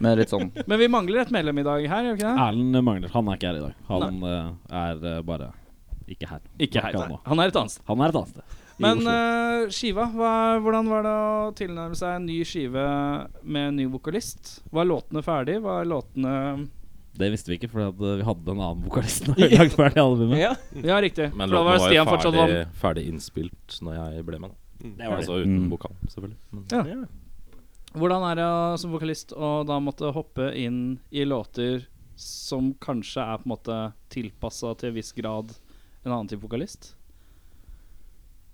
Med litt [LAUGHS] sånn
Men vi mangler et medlem i dag her, gjør vi ikke det?
Erlend mangler. Han er ikke her i dag. Han eh, er eh, bare ikke her.
Ikke her.
Akkurat
nei.
nå.
Han er et annet sted.
Han er et annet sted. I
Men
Oslo.
eh, skiva, hva, hvordan var det å tilnærme seg en ny skive med en ny vokalist? Var låtene ferdig? Var låtene
Det visste vi ikke, for vi hadde en annen vokalist når vi lagde ferdig albumet.
Ja.
Ja, riktig.
Men
for da var
låten var jo
Stian fortsatt
ferdig,
vann.
ferdig innspilt når jeg ble med. Da.
Det var det.
Altså uten
Mm.
vokal, selvfølgelig. Men
Hvordan er det å- som vokalist å da måtte hoppe inn i låter som kanskje er på en måte tilpassa til en viss grad en annen type vokalist?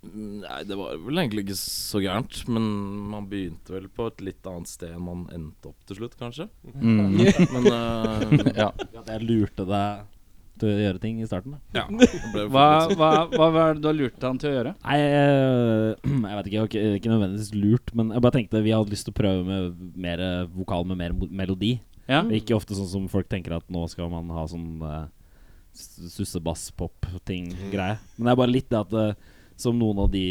Nei, det var vel egentlig ikke så gærent. Men man begynte vel på et litt annet sted enn man endte opp til slutt, kanskje.
mm.
[LAUGHS] Men eh,
Ja.
At jeg lurte deg til å gjøre ting i starten. Da.
ja. Det ble
Hva,
litt sånn.
hva, hva var det du har lurt han til å gjøre?
Nei, eh, [CLEARS THROAT] jeg vet ikke. Jeg var ikke, ikke nødvendigvis lurt, men jeg bare tenkte vi hadde lyst til å prøve med mer eh, vokal med mer mo- melodi.
Ja,
Og Ikke ofte sånn som folk tenker at nå skal man ha sånn uh, sussebass-pop-ting-greie.
Mm.
Men det er bare litt det at eh, som noen av de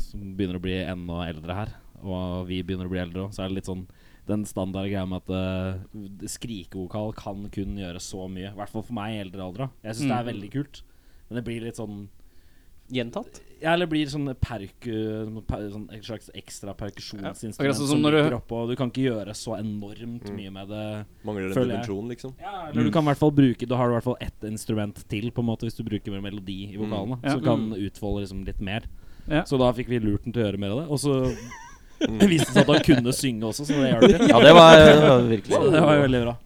som begynner å bli enda eldre her, og vi begynner å bli eldre òg, så er det litt sånn den standard greia med at eh, skrikevokal kan kun gjøre så mye. I hvert fall for meg i eldre alder. da. Jeg syns det
Mm.
er veldig kult, men det blir litt sånn
Gjentatt.
ja, eller blir sånn perku... Per, sånn et slags ekstra perkusjonsinstrument
akkurat sånn som
som
når du- Mm.
dukker opp, og du kan ikke gjøre så enormt mye med det.
Mangler en
Føler jeg.
dimensjon, liksom?
Ja, eller du kan i hvert fall bruke Da har du i hvert fall ett instrument til, på en måte, hvis du bruker mer melodi i vokalene.
Ja.
Så kan den utfolde liksom litt mer.
Ja.
Så da fikk vi lurt den til å gjøre mer av det. Og så [LAUGHS] viste det seg at han kunne synge også, så det hjalp.
ja, det var, det var
Så det var jo
virkelig
veldig bra.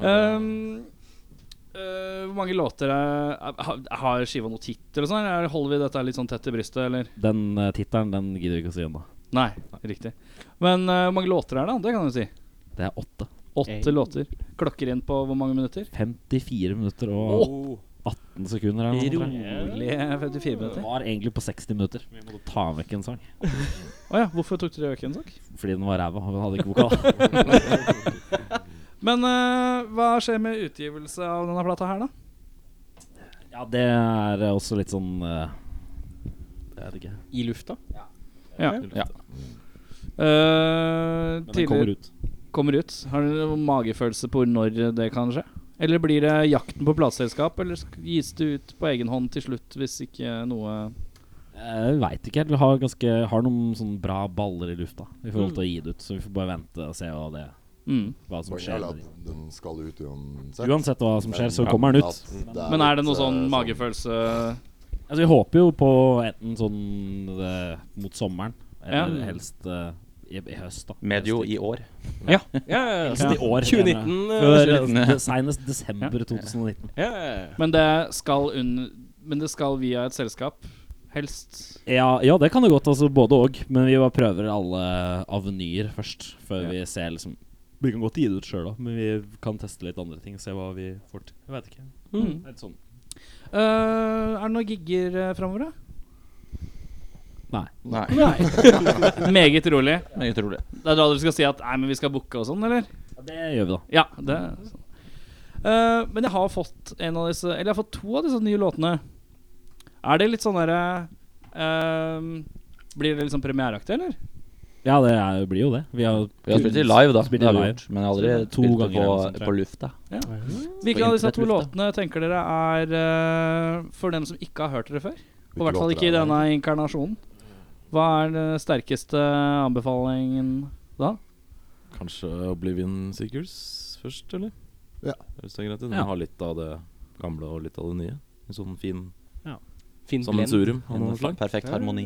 Ehm, øh, Hvor mange låter er, er- har- Har skiva noe tittel og sånn? eller Holder vi dette litt sånn tett i brystet, eller?
Den uh, tittelen den gidder vi ikke å si ennå.
Nei, riktig. Men øh, hvor mange låter er det? da? Det kan du si.
Det er åtte.
Åtte låter. Klokker inn på hvor mange minutter?
54 minutter og 18 sekunder. Eller noe sånt, tror jeg.
Rolig 54
det
minutter.
var egentlig på 60 minutter. Vi måtte ta vekk en sang.
Å ja, hvorfor tok dere vekk en sak?
Fordi den var ræva, og den hadde ikke vokal. [LAUGHS]
Men øh, hva skjer med utgivelse av denne plata her, da?
ja, det er også litt sånn eh, Jeg vet ikke.
I lufta.
Ja.
Ja.
Eh,
Men den
tidligere
kommer ut.
kommer ut. Har dere noen magefølelse på når det kan skje? Eller blir det jakten på plateselskap, eller sk- gis det ut på egen hånd til slutt hvis ikke noe
Jeg veit ikke helt. Eh, Vi har, ganske, har noen sånne bra baller i lufta i forhold til å gi det ut. Så vi får bare vente og se hva, det,
mm.
hva som
Poenget er
skjer.
at den skal ut uansett.
Uansett hva som skjer, så kommer den ut.
Men er det noe
eh,
sånn magefølelse
Altså, vi håper jo på enten sånn eh, mot sommeren, eller
Ja.
helst eh, i, i høst, da.
Medio i år.
Ja. ja, ja.
Helst i år.
2019,
mener jeg.
eh,
Før, eh, Senest desember 2019.
ja, ja.
Men det skal unn... Men det skal via et selskap, helst.
Ja, ja, det kan det godt. Altså både og. Men vi bare prøver alle avenyer først. Før vi ser liksom Vi kan godt gi det ut sjøl, da, men vi kan teste litt andre ting. Se hva vi får til. Jeg vet ikke.
Mm.
Litt sånn.
Eh, Eh, er det noen gigger uh, framover, da?
Nei,
[LAUGHS] Meget rolig.
meget rolig.
Det er da dere skal si at Nei, men vi skal booke og sånn, eller?
Ja, det gjør vi, da.
Ja, det Eh, Men jeg har fått en av disse Eller jeg har fått to av disse nye låtene. Er det litt sånn derre ehm, Blir det litt sånn premiereaktig, eller?
Ja, det er, blir jo det. Vi har,
Vi har spilt i live, da.
Spilt
Det
i
har vi sånn
live.
gjort, men jeg har aldri
Spilt to
spilt det
ganger
på,
eller noe sånt, tror jeg.
på lufta.
Hvilke av disse to
internettlufta.
låtene tenker dere er eh, for dem som ikke har hørt dere før? Og i hvert fall
låter
ikke i
er det?
denne inkarnasjonen. Hva er den sterkeste anbefalingen da?
Kanskje Oblivion Seekers først, eller?
Ja.
Hvis det er greit. Den
Ja.
har litt av det gamle og litt av det nye. En sånn fin
Finn Blend.
sammensurium av noe slag.
Perfekt harmoni.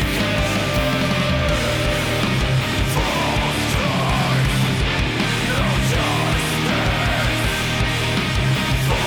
Frost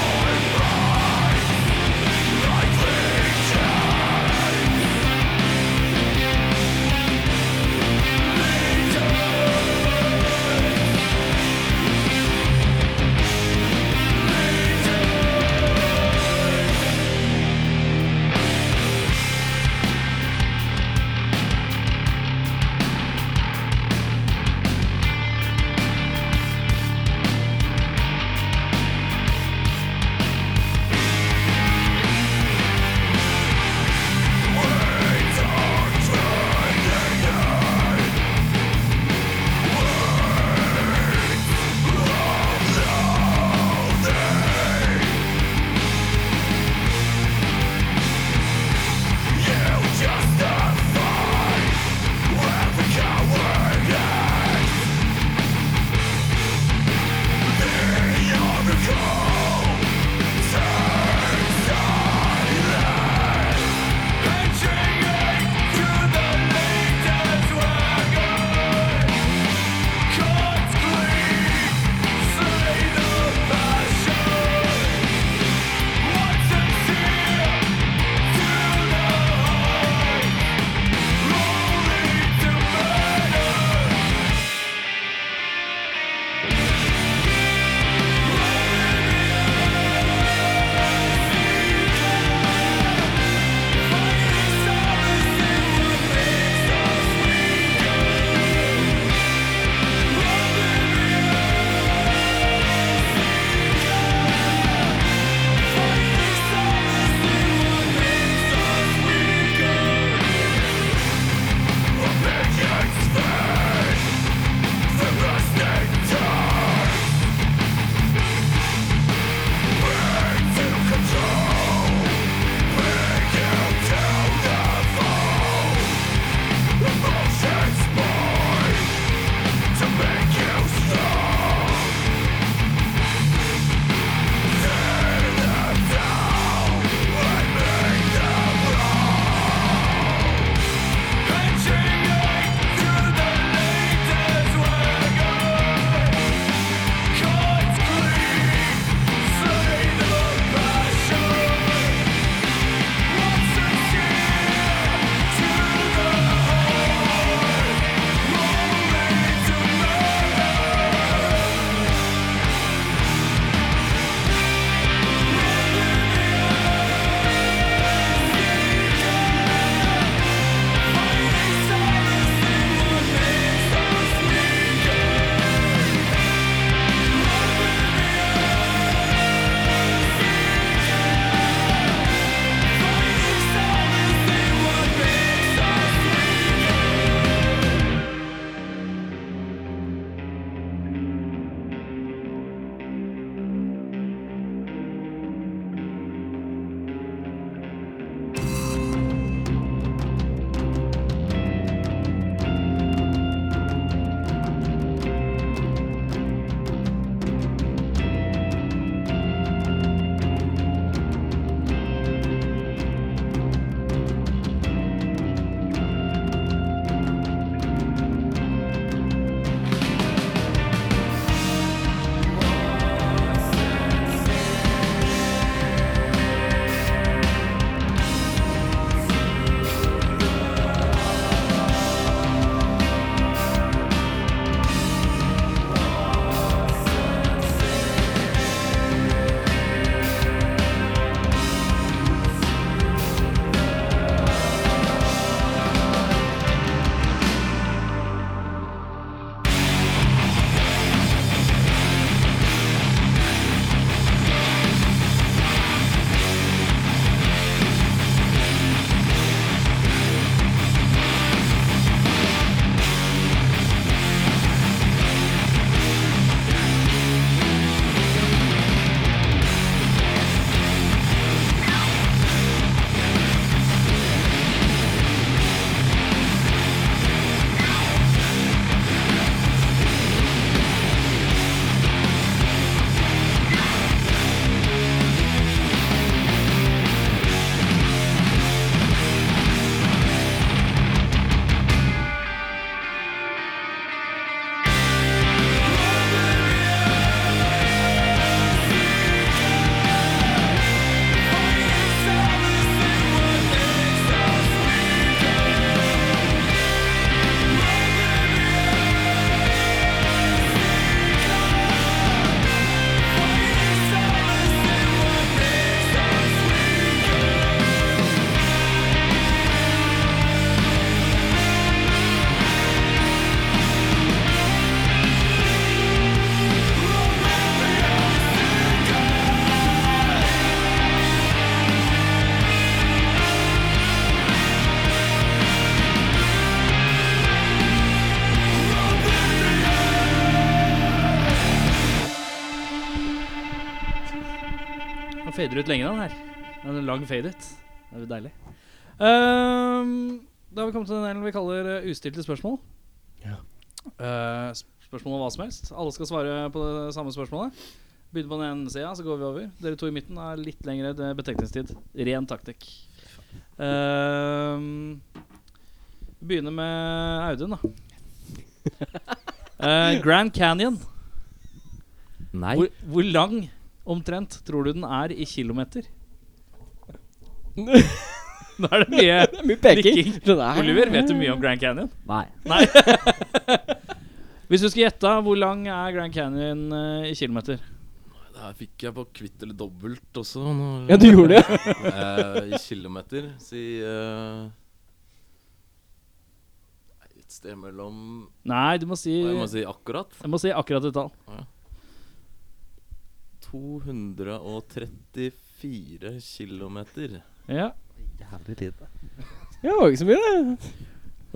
Han fader ut lenge, den her. Den er lang fade ut. Det er jo deilig. Ehm, da har vi kommet til den delen vi kaller eh, ustilte spørsmål. Eh, sp- spørsmål om hva som helst. Alle skal svare på det samme spørsmålet. Begynner på den ene sida, så går vi over. Dere to i midten har litt lengre eh, betenkningstid. Ren taktikk. Ehm, vi begynner med Audun, da. Eh, Grand Canyon.
Nei.
Hvor, hvor lang omtrent tror du den er i
[LAUGHS]
kilometer? Nå er det mye
Det er mye peking.
nikking.
Den er-
Oliver, vet du mye om Grand Canyon?
Nei.
[LAUGHS]
Nei. Hvis du skulle gjette, hvor lang er Grand Canyon eh, i kilometer?
Der fikk jeg på kvitt eller dobbelt også.
Ja, du gjorde det?
Eh, I kilometer, si eh, nei, Et sted mellom
Nei, du må si
Hva jeg må si akkurat?
Jeg må si akkurat et tall.
234 kilometer.
Ja.
Ja, det var ikke så mye, det.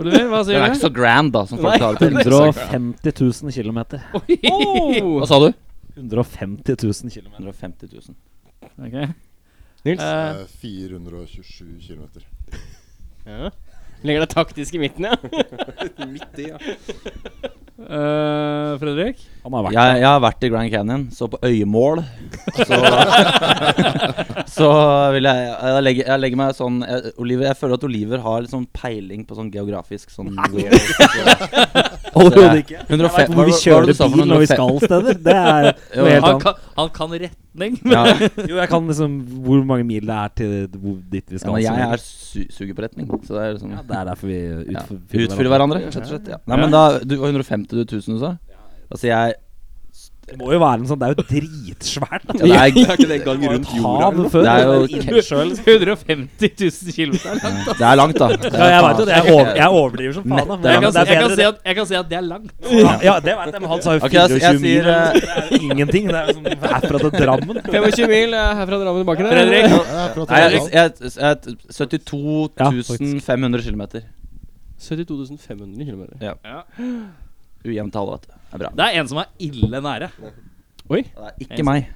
Oliver, hva
Den
sier
er
du?
ikke så grand, da, som folk tar det til.
[LAUGHS]
150 000 km.
Oh.
Hva sa du?
150 000 km.
150 000.
Ok.
Nils.
Eh,
Eh, 427 km.
[LAUGHS]
Ja. Legger deg taktisk i [LAUGHS] midten, ja.
[LAUGHS] Midt i, ja.
eh, Fredrik?
Han har vært
Jeg, jeg har vært i Grand Canyon, så på øyemål Så,
[LAUGHS]
så vil jeg jeg legger, jeg legger meg sånn jeg, Oliver, jeg føler at Oliver har liksom peiling på sånn geografisk sånn weird
[LAUGHS] Overhodet ikke.
105
Hvor vi kjører bil når vi
105?
skal steder. Det er
[LAUGHS] Jo,
noe helt
Han
annet.
kan, han kan retning.
Ja,
Jo, jeg kan liksom hvor mange mil det er til hvor- dit vi
ja,
skal.
men
så
jeg
mye.
er su suger på retning, så det er liksom
ja, Det er derfor vi
ja.
utfyller,
Utfyller hverandre, rett og slett. Ja. Nei, men da Du var 150 du 1000, du sa? Da sier jeg
Det må jo være en sånn Det er jo dritsvært. da.
ja, det, er,
Er ikke det gang rundt jorda?
Hav
eller noe?
før.
Det er jo-
det innsjø, liksom.
150 000 km.
det er langt, da. Det er
Ja, jeg vet jo
faen.
det. Jeg, over, jeg overdriver som faen. Da.
Nettet.
men
Jeg kan,
det er
jeg,
bedre
kan
det.
si at, jeg kan si at det er langt.
Ja, ja, det vet jeg, men han sa jo
Ok, jeg-
24
jeg sier,
mil.
eh,
eller noe. Det er ingenting. Det er liksom herfra til Drammen.
25 mil eh, herfra Drammen tilbake der.
Fredrik?
Jeg er fra
Nei, jeg,
Trondheim.
jeg, jeg, 72 500 km.
72 500 km.
Ujevnt tall, vet du. Det er bra.
Det er en som er ille nære.
Det er ikke meg.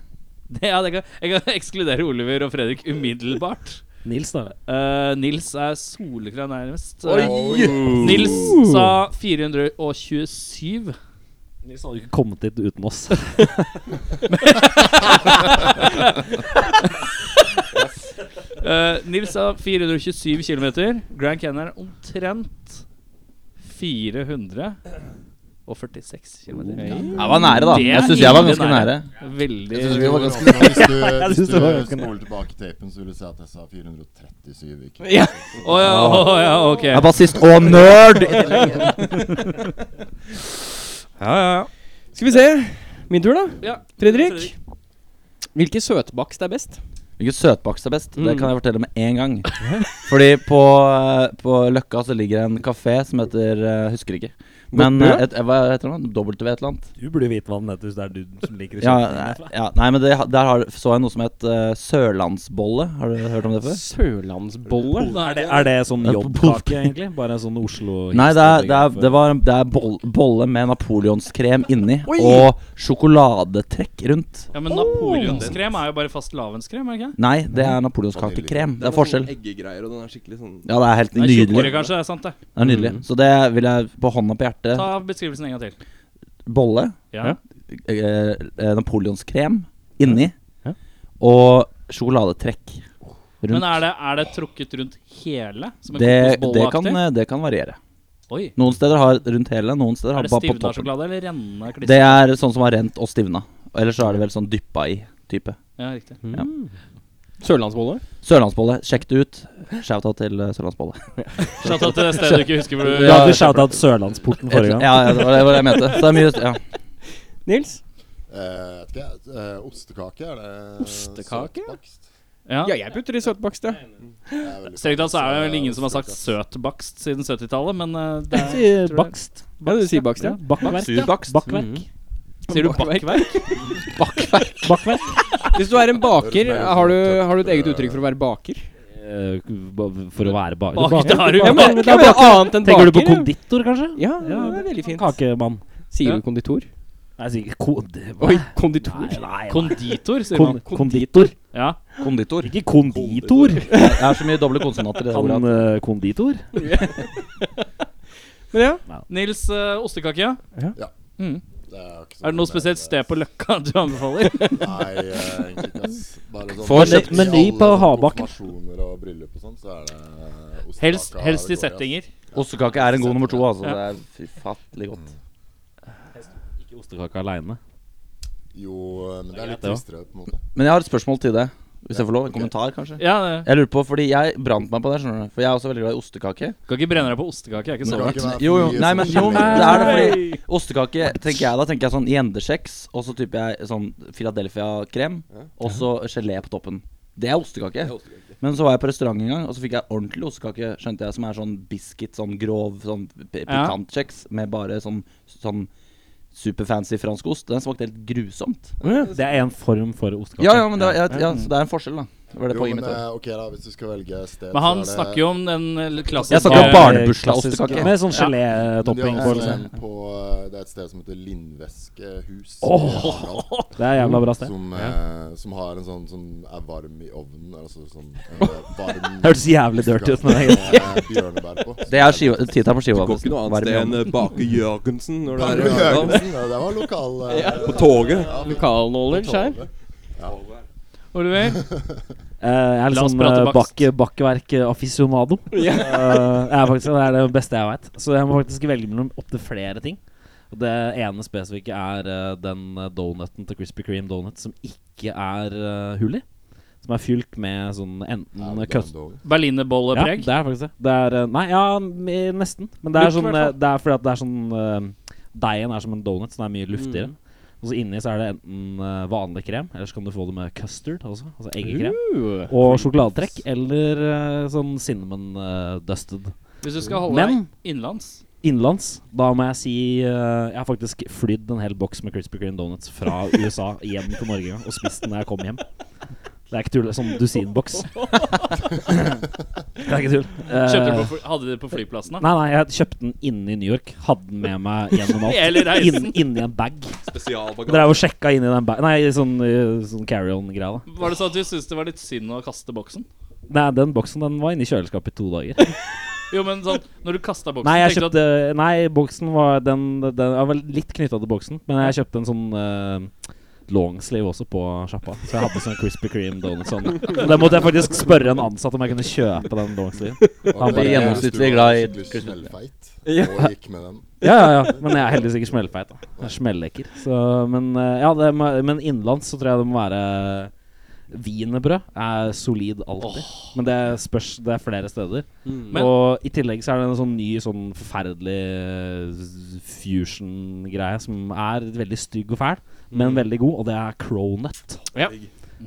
Det, ja, det kan, jeg kan ekskludere Oliver og Fredrik umiddelbart.
Nils, da.
Eh, Nils er soleklar nærmest. Eh,
Oi!
Nils sa
[LAUGHS]
427.
Nils hadde jo ikke kommet dit uten oss.
Eh, Nils sa 427 km. Grand Canyon er omtrent 446 km.
Jeg var nære, da.
Det er
Jeg syns jeg var
ille
ganske
nære.
nære.
Veldig
Jeg synes det var ganske [LAUGHS] bra. Hvis du,
Jeg
hvis
synes
du
det var ganske bra.
spoler tilbake tapen, så vil du se at jeg sa 437. Ikke?
Ja.
Å ja, å ja, ok.
Jeg er bassist og nerd!
Skal vi se. Min tur, da.
Ja,
Fredrik. Hvilke søtbakst er best?
Hvilken søtbakst er best? Det
Mm.
kan jeg fortelle med en [LAUGHS] gang. Fordi på, eh, på Løkka så ligger det en kafé som heter eh, Husker ikke. Men
Bø?
eh, et, eh, hva heter den? W et eller annet?
[LAUGHS] Du burde jo vite hva den heter hvis det er du som liker å
Ja,
kjøpe
nei,
den.
ja, nei men det, der har, så jeg noe som het eh, sørlandsbolle. Har du hørt om det før?
Sørlandsbolle?
Er det, er det sånn
Ja, på
jobbkake, egentlig? Bare en sånn Oslo
Nei, det er, det er, det var, det er boll, bolle med napoleonskrem inni og sjokoladetrekk rundt.
ja men napoleonskrem er jo bare fastelavnskrem, er det ikke?
Nei, det er napoleonskakekrem. Det er forskjell.
Sånn eggegreier og den er skikkelig sånn
Ja, det er helt
Nei,
nydelig.
tjukkere, kanskje. Det er sant, det.
Det er nydelig. Så det vil jeg på hånda på hjertet.
Ta beskrivelsen en gang til.
Bolle,
Ja.
eh, eh, napoleonskrem inni
Ja.
og sjokoladetrekk
Men
rundt.
er det, er det trukket rundt hele? Som en
Det, det,
kokosbolleaktig?
kan, eh, det kan variere.
Oi.
Noen steder har rundt hele, noen steder
Er
har
det
bare på
stivna
toppen.
sjokolade eller rennende klister?
Det er sånn som har rent og stivna. Ellers så er det vel sånn dyppa i type.
Ja, riktig.
Mm.
Sørlandsbolle?
Sørlandsbolle, sjekk det ut. Shout-out til eh, Sørlandsbolle.
Shout out til det stedet du ikke husker hvor du
Du hadde shouta Sørlandsporten forrige gang.
Ja, ja, det var det var det jeg mente. Så det er mye ja.
Nils?
Eh, vet ikke, jeg. eh, ostekake, er det
Ostekake?
søtbakst?
Ja.
Ja, jeg putter i søtbakst, ja.
Jeg er veldig
Strengt tatt så er det vel ingen som har sagt
Ostekake.
søtbakst siden 70-tallet, men eh, det er,
Sier
tror jeg-
Bakst.
Ja, du sier Mm. bakst, ja.
Bakkverk. ja.
Surbakst.
Bakkverk.
Sier du bakkverk?
[LAUGHS]
Bakkverk.
Hvis du er en baker, har du, har du et eget uttrykk for å være baker?
Eh, ba- For å være ba-
Bak, det har du
Ja,
jo.
men, ja, men annet enn
Tenker du på
baker?
konditor, kanskje?
Ja, ja, det er veldig fint.
Kakemann.
Sier
Ja.
du konditor?
Nei, sikkert kod...
Oi, konditor?
nei, nei.
Konditor, sier
Kon
man.
konditor.
Ja.
Konditor.
Ikke konditor!
Det er så mye doble konsonanter i det
Han
ordet. at-
eh, konditor?
Men ja,
Nei.
Nils eh, ostekake. Ja.
Det er, jo ikke sånn så
Er det noe
mye mer
spesielt
enn
sted på Løkka [LAUGHS] du anbefaler?
det. Nei, eh, egentlig ikke. ass. Bare sånn
Få kjøpt
i
meny
alle
på
sånne
Habakken.
Konfirmasjoner og bryllup og sånn, så er det ostekaka
Helst,
det
helst i
går i, ass.
settinger.
Ostekake er en god nummer to, altså. Det er fy fattelig godt.
Ikke ostekake aleine.
Jo, eh, men det er litt
det også.
tristere på en måte.
Men jeg har et spørsmål til deg. Hvis jeg får lov? En kommentar, kanskje?
Ja, det-
Jeg lurer på, fordi jeg brant meg på det, skjønner du. For jeg er også veldig glad i ostekake.
Kan ikke brenne deg på ostekake. Jeg er ikke
Men
så
kan
langt.
ikke være for
Jo, jo.
mye
Nei,
sånn
men jo,
gelé.
det er det fordi Ostekake tenker jeg da tenker jeg sånn gjendekjeks, og så typer jeg sånn Philadelphia-krem, og så gelé på toppen. Det er ostekake. Men så var jeg på restaurant en gang, og så fikk jeg ordentlig ostekake, skjønte jeg, som er sånn biscuit, sånn grov, sånn p-
Ja.
pikantkjeks med bare sånn, sånn superfancy fransk ost. Den smakte helt grusomt.
Det er en form for ostekake.
Ja, ja, men det, var- jeg, ja, så det er en forskjell, da. Det var det
Jo,
poenget
men
mitt. var.
eh, ok, da, hvis du skal velge sted,
Men han
så er det
snakker jo om den eh, litt klassiske
Jeg snakker om barn-
Eh,
barnebursdagsostekake.
klassisk, Med sånn
Ja.
Men de har
gelétopping på.
også
Liksom.
en på eh, Det er et sted som heter Lindveskehus.
Det er jævla bra sted.
Som, eh, som har en sånn som er varm i ovnen. Altså sånn eh, varm
Hørtes jævlig
Liksom.
dirty ut. Men det er greit.
med bjørnebær på.
Det er skiva, tittelen på
Du
skiva.
går ikke noe annet
Varm i
sted
hånden.
enn eh, Bake Jørgensen når du er i Arendal.
Bjørnebær, ja, det var lokal eh,
På toget.
Lokal knowledge her.
Oliver.
Eh, jeg er litt
La oss
sånn
prate
eh,
bakst.
bakke,
[LAUGHS]
bakkeverk-afficionado. jeg er faktisk, det er det beste jeg veit. Så jeg må faktisk velge mellom opptil flere ting. Og det ene spesifikke er eh, den eh, donuten til Krispy Kreme Donut som ikke er eh, hull i. Som er fylt med sånn
Ja,
enten
det er
køst...
dog.
Ja, det
Berlinerbollepreg.
er faktisk det. det er, eh, nei, ja, m- nesten. Men det er,
Luft, i
sånn,
hvert
eh, det er fordi at det er sånn eh, Deigen er som en donut, så den er mye
Mm.
luftigere. Og så inni så er det enten eh, vanlig krem, eller så kan du få det med custard også. Altså eggekrem.
Uh,
Og sjokoladetrekk eller eh, sånn cinnamon eh, dusted.
Hvis du skal holde deg
Men-
innenlands.
Innenlands, da må jeg si eh, Jeg har faktisk flydd en hel boks med Crispy Green Donuts fra USA hjem til Norge en gang, og spist den da jeg kom hjem. Det er ikke tull. det er Sånn dusinboks. [LAUGHS] det er ikke tull. Eh,
Kjøpte du på, fly- hadde du det på flyplassen, da?
Nei, nei, jeg kjøpte den inne i New York. Hadde den med meg
[LAUGHS]
gjennom
Hele
alt.
reisen.
Inn, inni en bag.
Spesialbagasje.
Dreiv og sjekka inni den bag Nei, sånn, eh, sånn carry-on-greia, da.
Var det sånn at du syntes det var litt synd å kaste boksen?
Nei, den boksen den var inni kjøleskapet i to dager.
Jo, men sånn Når du kasta boksen,
Nei, jeg
tenkte du
kjøpte Nei, boksen var Den, den jeg var litt knytta til boksen, men jeg kjøpte en sånn eh, longsleeve også på sjappa. Så jeg hadde sånn Krispy Kreme donuts. Sånn. Da måtte jeg faktisk spørre en ansatt om jeg kunne kjøpe den longsleeven. Han
bare gjennomsnittlig glad
Hvis
i
du var skikkelig smellfeit
Ja.
og gikk med den.
Ja, ja, ja. Men jeg er heldigvis ikke smellfeit. da Jeg er smellekker. Så, men eh, ja, det må, men innenlands så tror jeg det må være Wienerbrød er solid alltid, men det spørs Det er flere steder.
Men-
og i tillegg så er det en sånn ny, sånn forferdelig eh, fusion-greie som er veldig stygg og fæl, men veldig god, og det er cronut.
Ja.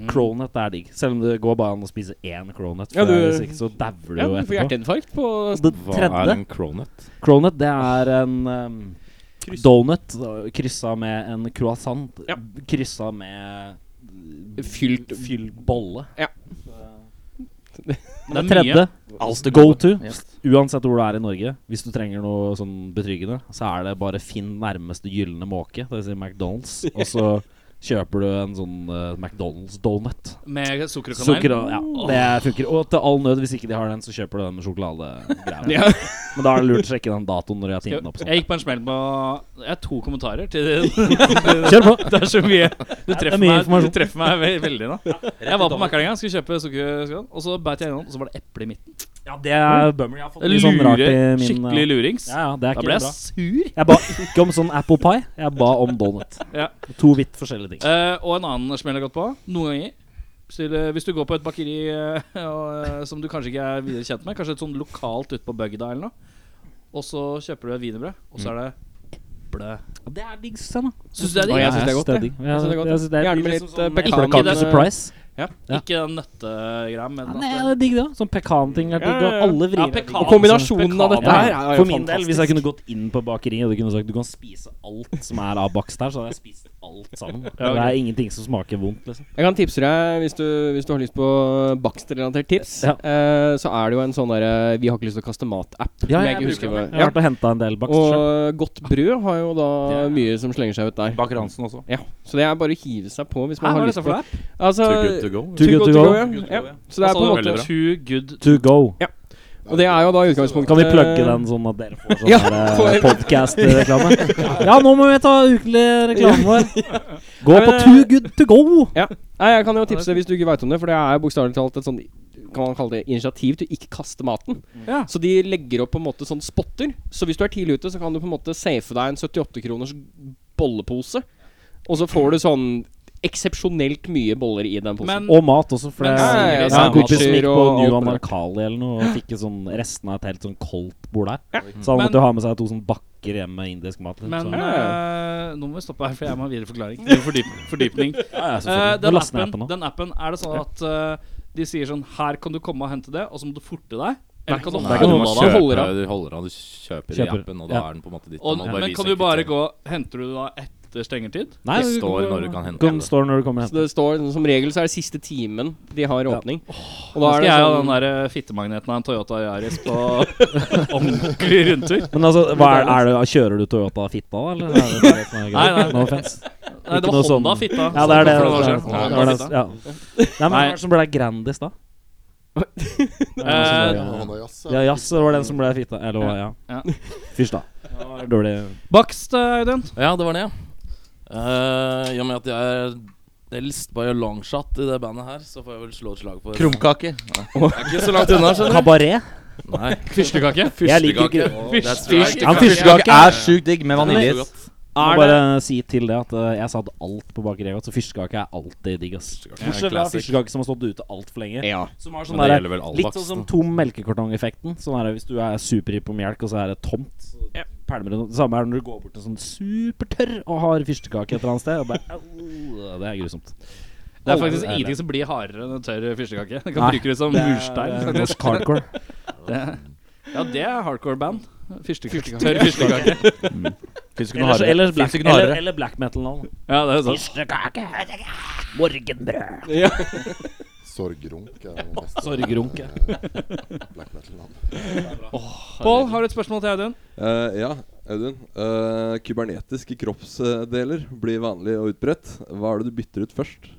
Cronut er digg, selv om det går bare an å spise én cronut. For
Ja, du-
Hvis ikke så dauer du
ja,
jo
du får
etterpå.
hjerteinfarkt på
Og Altså, det
Hva
tredje
er en cronut?
Cronut, det er en um, donut uh, kryssa med en croissant
Ja.
kryssa med mm,
Fylt
fyll bolle.
Ja.
Men det
Det er mye.
tredje, the go to,
Yes.
uansett hvor du er i Norge Hvis du trenger noe sånn betryggende, så er det bare finn nærmeste gylne måke, dvs. Si McDonald's, og så kjøper du en sånn uh, McDonald's-donut.
med sukker og kanel
Sukker og Ja, det funker. Og til all nød, hvis ikke de har den, så kjøper du den med sjokoladegreier.
Ja.
Men da er det lurt å sjekke den datoen når de har tint den opp.
Jeg
Sånn.
gikk på en smell på Jeg har to kommentarer til det.
[LAUGHS] Kjør på!
[LAUGHS] Det er så mye. Du treffer
mye
meg, du
informasjon.
treffer meg ve veldig nå. Jeg var på Mækkern en gang, skulle kjøpe sukker, og så beit jeg innom, og så var det eple i midten.
Ja, det er bummer. Jeg har fått
Det
litt sånn rart i
lurer,
min
skikkelig lurings.
Ja, ja, det er
Da
ikke
ble
bra.
jeg sur.
Jeg ba ikke om sånn apple pie, jeg ba om donut.
Ja.
To vidt forskjellige ting.
Eh, og en annen smell jeg har gått på. Noen ganger. Stille, hvis du går på et bakeri eh, [LAUGHS] og, eh, som du kanskje ikke er videre kjent med, kanskje et sånn lokalt ute på bygda eller noe, og så kjøper du et wienerbrød, og så er det eple.
Det er digg, Susanne.
Syns du det
Å,
er digg?
jeg syns det er godt, jeg.
Jeg
Jeg synes det er godt, jeg.
synes det er
Gjerne
digg,
med
liksom
litt,
sånn,
eh,
ikke
pekan,
Ikke det er
eh,
surprise.
ja.
Ikke den nøttegreia, men at
Nei,
det-
det er digg, det. også. Sånn pekanting er digg.
Ja, ja, ja.
og Alle vrir.
Ja,
er digg.
pekan.
Og kombinasjonen av dette
Ja,
her
ja.
er jo
For min del, hvis jeg
fantastisk.
kunne gått inn på bakeriet og du kunne sagt du kan spise alt som er av bakst her, så hadde jeg spist alt sammen. Det er ingenting som smaker vondt, liksom.
Jeg kan tipse deg, hvis du, hvis du har lyst på bakstrelatert tips,
Ja.
eh, så er det jo en sånn derre Vi har ikke lyst til å kaste mat-app.
Ja,
som
jeg
ikke husker
Jeg
hva-
har vært og henta en del bakst. selv.
Og Godt Brød har jo da
Det er-
mye som slenger seg ut der.
Baker Hansen også.
Ja, Så det er bare å hive seg på hvis man
Hæ, hva
har
er
lyst
dette
på
for noe?
Altså,
Trykke ut to go.
Too good to go. ja.
Good to go,
Ja.
ja.
Så det er på en måte
Veldig bra.
Too good
To go.
Og det er jo da utgangspunktet
Kan vi
Eh.
plugge den sånn at
[LAUGHS]
dere får
Ja,
sånn
for- [LAUGHS]
podkast-reklame? Ja, nå må vi ta ukelig reklame vår. [LAUGHS] Gå på
Men- eh,
Too Good To Go.
Nei, jeg
[LAUGHS]
kan jo tipse hvis du ikke veit om det, for det er bokstavelig talt et sånn kan man kalle det initiativ til å ikke kaste maten.
Mm. Ja.
Så de legger opp på en måte sånn spotter. Så hvis du er tidlig ute, så kan du på en måte safe deg en 78 kroners bollepose. Og så får du sånn eksepsjonelt mye boller i den posen.
Men
Og mat også, for det
Men-
Ja, ja, ja,
Jeg har en kompis som
sandwicher
gikk på
og
New
alt det
Anarkali eller noe og fikk et sånn resten av et helt sånn koldt bord der. Så han
Men-
måtte jo ha med seg to sånne bakker hjem med indisk mat. liksom.
Men
Så-
eh, nå må vi stoppe her, for jeg må ha videre forklaring. Videre Fordyp, fordypning. [LAUGHS]
ja, ja,
Eh,
selvfølgelig. Nå
den,
laster jeg
appen,
appen nå.
den appen, er det sånn at eh, de sier sånn Her kan du komme og hente det, og så må du forte deg. Eller
sånn
kan du
Nei, du
holde deg?
må
noe som
kjøpe-
holder av.
Du holder av, du kjøper, i
Kjøper,
appen, og da
ja.
er den på en måte ditt.
Og,
den må
men
vise
kan du
en
bare
kvittering.
gå Henter du det da etter stengetid?
Nei,
Det
du
står
går-
når du kan hente
Går-
det.
Står når du kommer og
Så
henter.
det står Som regel så er det siste timen de har åpning. Og
Da
da er
skal
det
jeg ha den
sånn
der eh, fittemagneten av en Toyota Yaris på [LAUGHS] ordentlig rundtur.
Men altså, hva er, er det, [LAUGHS] kjører du Toyota Fitta, da? Eller er det bare sånn
Nei, nei.
No offense.
Nei, det
Ikke noe
var Honda
sånn-
Fitta.
Ja, det er det.
for noen år
det,
siden.
er- det, var
Honda
det,
Fitta.
ja. Nei, men hva
Nei.
er det som ble Grandis, da? Det er noe som ble-
Eh,
Hånda jazz.
Ja, jazz det var den som ble fitta. Eller hva, ja.
Ja.
Fysj, da. Dårlig
Bakst, eh, Audun.
Ja, det var det, ja. Eh, I og med at jeg er eldst by a long shot i det bandet her, så får jeg vel slå et slag for
Krumkake.
Jeg er ikke så langt unna, skjønner
Kabaret?
du. Nei.
Fyrstekake.
Jeg liker
Fyrstekake.
ikke
That's right.
Ja, men Fyrstekake er sjukt digg med vaniljeis.
Må bare si til det at eh, jeg satte alt på bakeriet, så fyrstekake er alltid digg, ass.
Fyrstekake er
Bortsett fra
classic.
fyrstekake som har stått ute altfor lenge.
Ja.
Som har
Men
sånn
det
der,
gjelder vel all
Litt
bakst,
sånn som
da.
tom melkekartong-effekten. Sånn er det hvis du er superhypp på melk, og så er det tomt. Så pælmer det noe. Det samme er når du går bort til sånn supertørr og har fyrstekake et eller annet sted. Og bare, au, det er
[LAUGHS]
grusomt.
Det er faktisk ingenting som blir hardere enn en tørr fyrstekake. Den kan
Nei.
bruke det som murstein.
Det er [LAUGHS]
faktisk.
Norsk hardcore.
Ja, det er hardcore band. Fyrstekake. Tørr fyrstekake.
Fins ikke noe
Ellers,
hardere.
ellers,
Finnes
black,
ikke noe
eller,
hardere.
eller black metal nå.
Ja, det er sånn. sant.
Fyrstekake, morgenbrød.
Sorgrunk er den beste
Sorgrunk, ja.
eh, black metal-navn.
Pål, har du et spørsmål til Audun?
Eh, [LAUGHS] ja, Audun. Eh, kybernetiske kroppsdeler blir vanlig og utbredt. Hva er det du bytter ut først?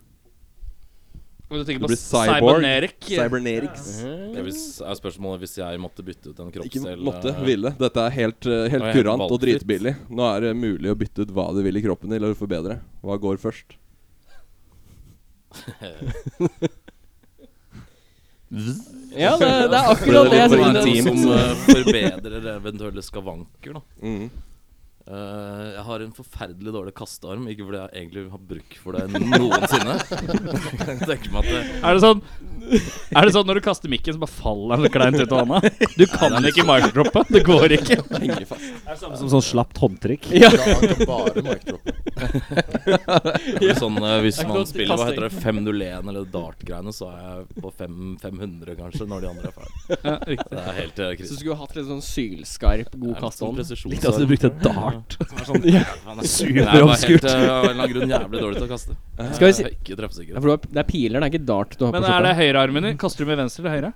Om du
Det
tenker på
blir cyborg.
cybernerik.
Cybernetics.
Det er hvis- er spørsmålet hvis jeg måtte bytte ut en
Ikke
kroppsdel
måtte,
eh,
ville. Dette er helt, eh, helt
Og helt
kurant og
valgfritt.
dritbillig. Nå er det mulig å bytte ut hva du vil i kroppen din, eller forbedre. Hva går først?
Ja, det, det
[LAUGHS]
er
For
akkurat
det
det
er
jeg
litt
sier. [LAUGHS]
sånn som eh, forbedrer eventuelle skavanker, da.
Mhm.
Eh, jeg har en forferdelig dårlig kastearm, ikke fordi jeg egentlig har bruk for det noensinne. jeg tenker meg at det,
Er det sånn Er det sånn når du kaster mikken, så bare faller den kleint ut av hånda? Du kan ikke micdroppe. Det går
[LAUGHS]
ikke.
Som sånn slapt håndtrykk.
Ja, han kan bare mic-droppe.
det er sånn eh, Hvis man
godt
spiller hva heter det,
kasting.
501 eller dart-greiene, så er jeg på fem, 500 kanskje når de andre er ferdige.
Ja, riktig.
Det er helt uh,
Så du
krise.
skulle hatt litt sånn sylskarp,
sånn
god kasthånd.
Litt
Likte at du brukte dart.
Super omskurt. eh, Av en eller annen grunn jævlig dårlig til å kaste.
Skal vi si
Jeg er ikke
Ja,
treffsikker.
for du har- Det er piler, det er ikke dart du har på
Men er
skjorta.
det høyrearmen din? Kaster du med venstre eller høyre?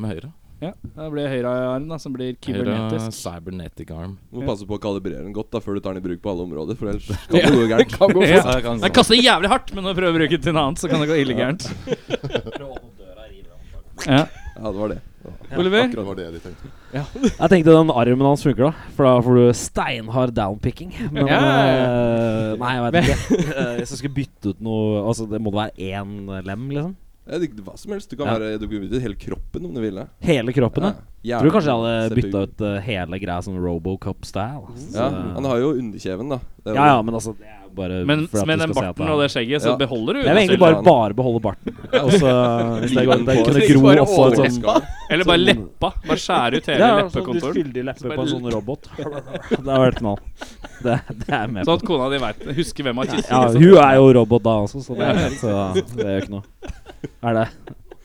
Med høyre.
Ja, Det blir høyrearm da, som blir
Høyre
kybernetisk.
cybernetic arm.
Du må passe på å kalibrere den godt da før du tar den i bruk på alle områder, for
[LAUGHS]
ellers kan det gå gærent.
Kan gå
Ja.
fort.
Den kaster jævlig hardt, men når du prøver å bruke den til noe annet, så kan det gå ille gærent. Ja.
Ja, det var det.
Oliver?
Det var det de tenkte.
Jeg tenkte den armen hans funker, da. For da får du steinhard downpicking. Men
Ja, ja,
eh, Nei, jeg vet ikke. Eh, Hvis jeg skulle bytte ut noe Altså, det må det være én lem, liksom?
Eh, det- Hva som helst. Du kan
Ja.
være Du kan bytte ut hele kroppen om du ville.
Hele kroppen, ja.
Ja.
Tror du kanskje jeg hadde
Hjernen,
bytta ut eh, hele greia sånn Robocop-style.
CPU.
Så-
Ja, han har jo underkjeven, da. Det er
ja, ja,
jo-
men altså det er jo bare
Men
for at
med
du
den
skal se at
barten og det skjegget, så
Ja.
beholder du
Jeg vil egentlig bare, bare beholde barten. [LAUGHS] Og så altså, Hvis det går, det kunne gro
Bare
oppå et sånn
overraska.
Eller bare leppa. Bare skjære ut hele
Ja, sånn du
leppekontoren.
skyldig leppe på en sånn robot. [LAUGHS] Det har vært knall. Det, det er jeg med på.
Sånn at kona di vet, husker hvem av
Ja,
kissene
hun er jo robot da også, så det, så det gjør ikke noe. [LAUGHS] Er det?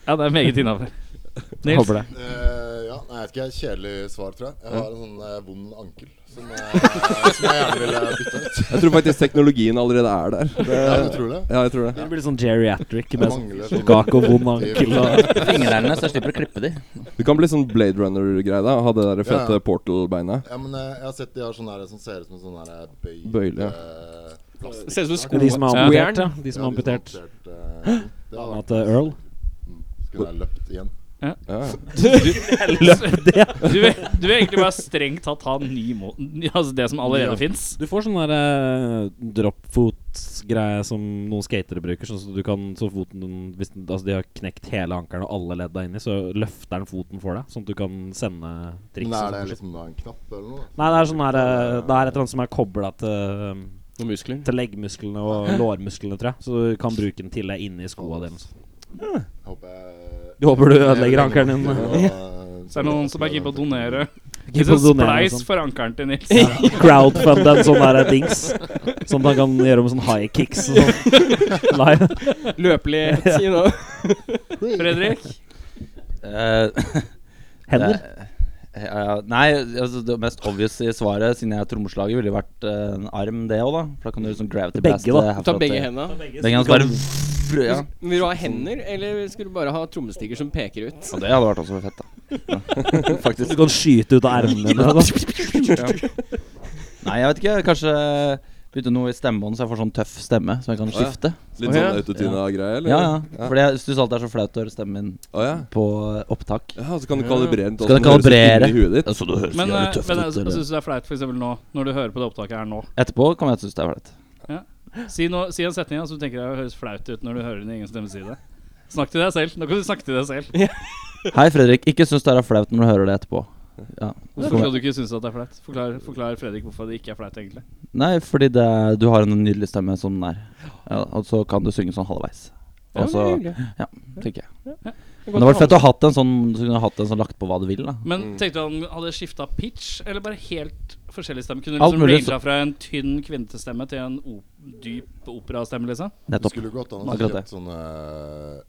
Ja, det er meget innafor. Nils, [LAUGHS]
Håper det.
Eh, ja, nei, jeg vet ikke. Kjedelig svar, tror jeg. Jeg har en sånn eh, vond ankel som, eh, som jeg gjerne ville bytte ut.
Jeg tror faktisk teknologien allerede er
[LAUGHS]
der.
Ja, du tror det?
Ja, jeg tror det.
Det blir litt sånn geriatric med sånn
Mangler sånn-
kake og vond ankel [LAUGHS] og
Fingrene, så jeg slipper å klippe de.
Du kan bli sånn Blade Runner-greie, da. Ha det der fete
Ja.
Portal-beina.
Ja, men eh, jeg har sett de har sånne her som ser ut som sånn her bøyd
Bøyle, ja.
eh, plastikk.
Ser ut som sko
De som er
Ja.
amputert, ja. De som
Ja,
er amputert.
amputert, eh, Det hadde
At eh, Earl
Skulle jeg løpt igjen.
Ja, ja.
Du vil, du vil egentlig bare strengt tatt ha ny må altså det som allerede finnes
Du får sånn der uh, dropfot-greie som noen skatere bruker. Sånn at du kan Så foten din Hvis den, altså de har knekt hele ankelen og alle ledda inni, så løfter den foten for deg. Sånn at du kan sende triks.
Men
og
er
sånn
det
shit.
liksom da en knapp eller noe?
Nei, det er sånn her eh, Det er et eller annet som er kobla til um,
Noen muskler.
Til leggmusklene
[LAUGHS]
og lårmusklene, tror jeg. Så du kan bruke den til deg inni skoa dine.
Jeg eh, Håper jeg
Du håper du ødelegger ankelen [LAUGHS] din.
[LAUGHS] Så er det noen som er keen på å donere.
Keen
Hvis
på å
en
donere
spleis
og sånn.
for ankelen til
[LAUGHS]
Nils.
Crowdfund en sånn der dings. Sånn at han kan gjøre om sånn high kicks og sånn. Live.
[LAUGHS] Løpelighet, you know.
Fredrik?
Eh,
Hender.
det- eh, nei, altså det mest obvious i svaret, siden jeg er trommeslager, ville jo vært eh, en arm, det òg, da. For da kan du liksom gravity
Begge,
blast
da.
det herfra
Ta begge
til-
hendene.
Begge hendene, så bare vrø, ja.
Vil du ha hender, eller skal du bare ha trommestikker som peker ut?
Og det hadde vært også fett, da. Ja. Faktisk.
Du kan skyte ut av ermene dine. da.
[LAUGHS] Nei, jeg vet ikke. Kanskje bytte noe i stemmebåndet, så jeg får sånn tøff stemme som jeg kan
Å, ja.
skifte.
Litt
Å, ja.
sånn autotuna-greie, eller?
Ja, ja. For jeg syns alltid det er så flaut å høre stemmen min
Å, ja.
på opptak.
ja, så kan du kalibrere den til
Skal
hvordan den høres
du
ut
kalibrere?
inni huet ditt.
Så du høres
Men, eh,
jævlig tøff
men
ut. eller?
syns du det er flaut for eksempel nå, når du hører på det opptaket her nå?
Etterpå kan jeg synes det er flaut.
Si, noe- si en setning da, som du tenker deg høres flaut ut når du hører din egen stemme si det. Snakk til deg selv. Nå kan du snakke til deg selv.
Hei, Fredrik. Ikke syns det er flaut når du hører det etterpå. Ja. Så
Hvorfor
kommer-
skal du ikke synes at det er flaut? Forklar, forklar Fredrik hvorfor det ikke er flaut, egentlig.
Nei, fordi det, er- du har en nydelig stemme som den er. Ja, og så kan du synge sånn halvveis. Og så tenker jeg. Men det var fett å ha hatt en sånn Så kunne du hatt en sånn lagt på hva du vil, da.
Men tenkte du han hadde skifta pitch, eller bare helt forskjellig stemme? Kunne du
Alt
liksom
mulig,
rangea fra en tynn kvinnestemme til en o dyp operastemme, liksom?
Det
Nettopp.
skulle gått an å
Akkurat det.
kjøpt sånne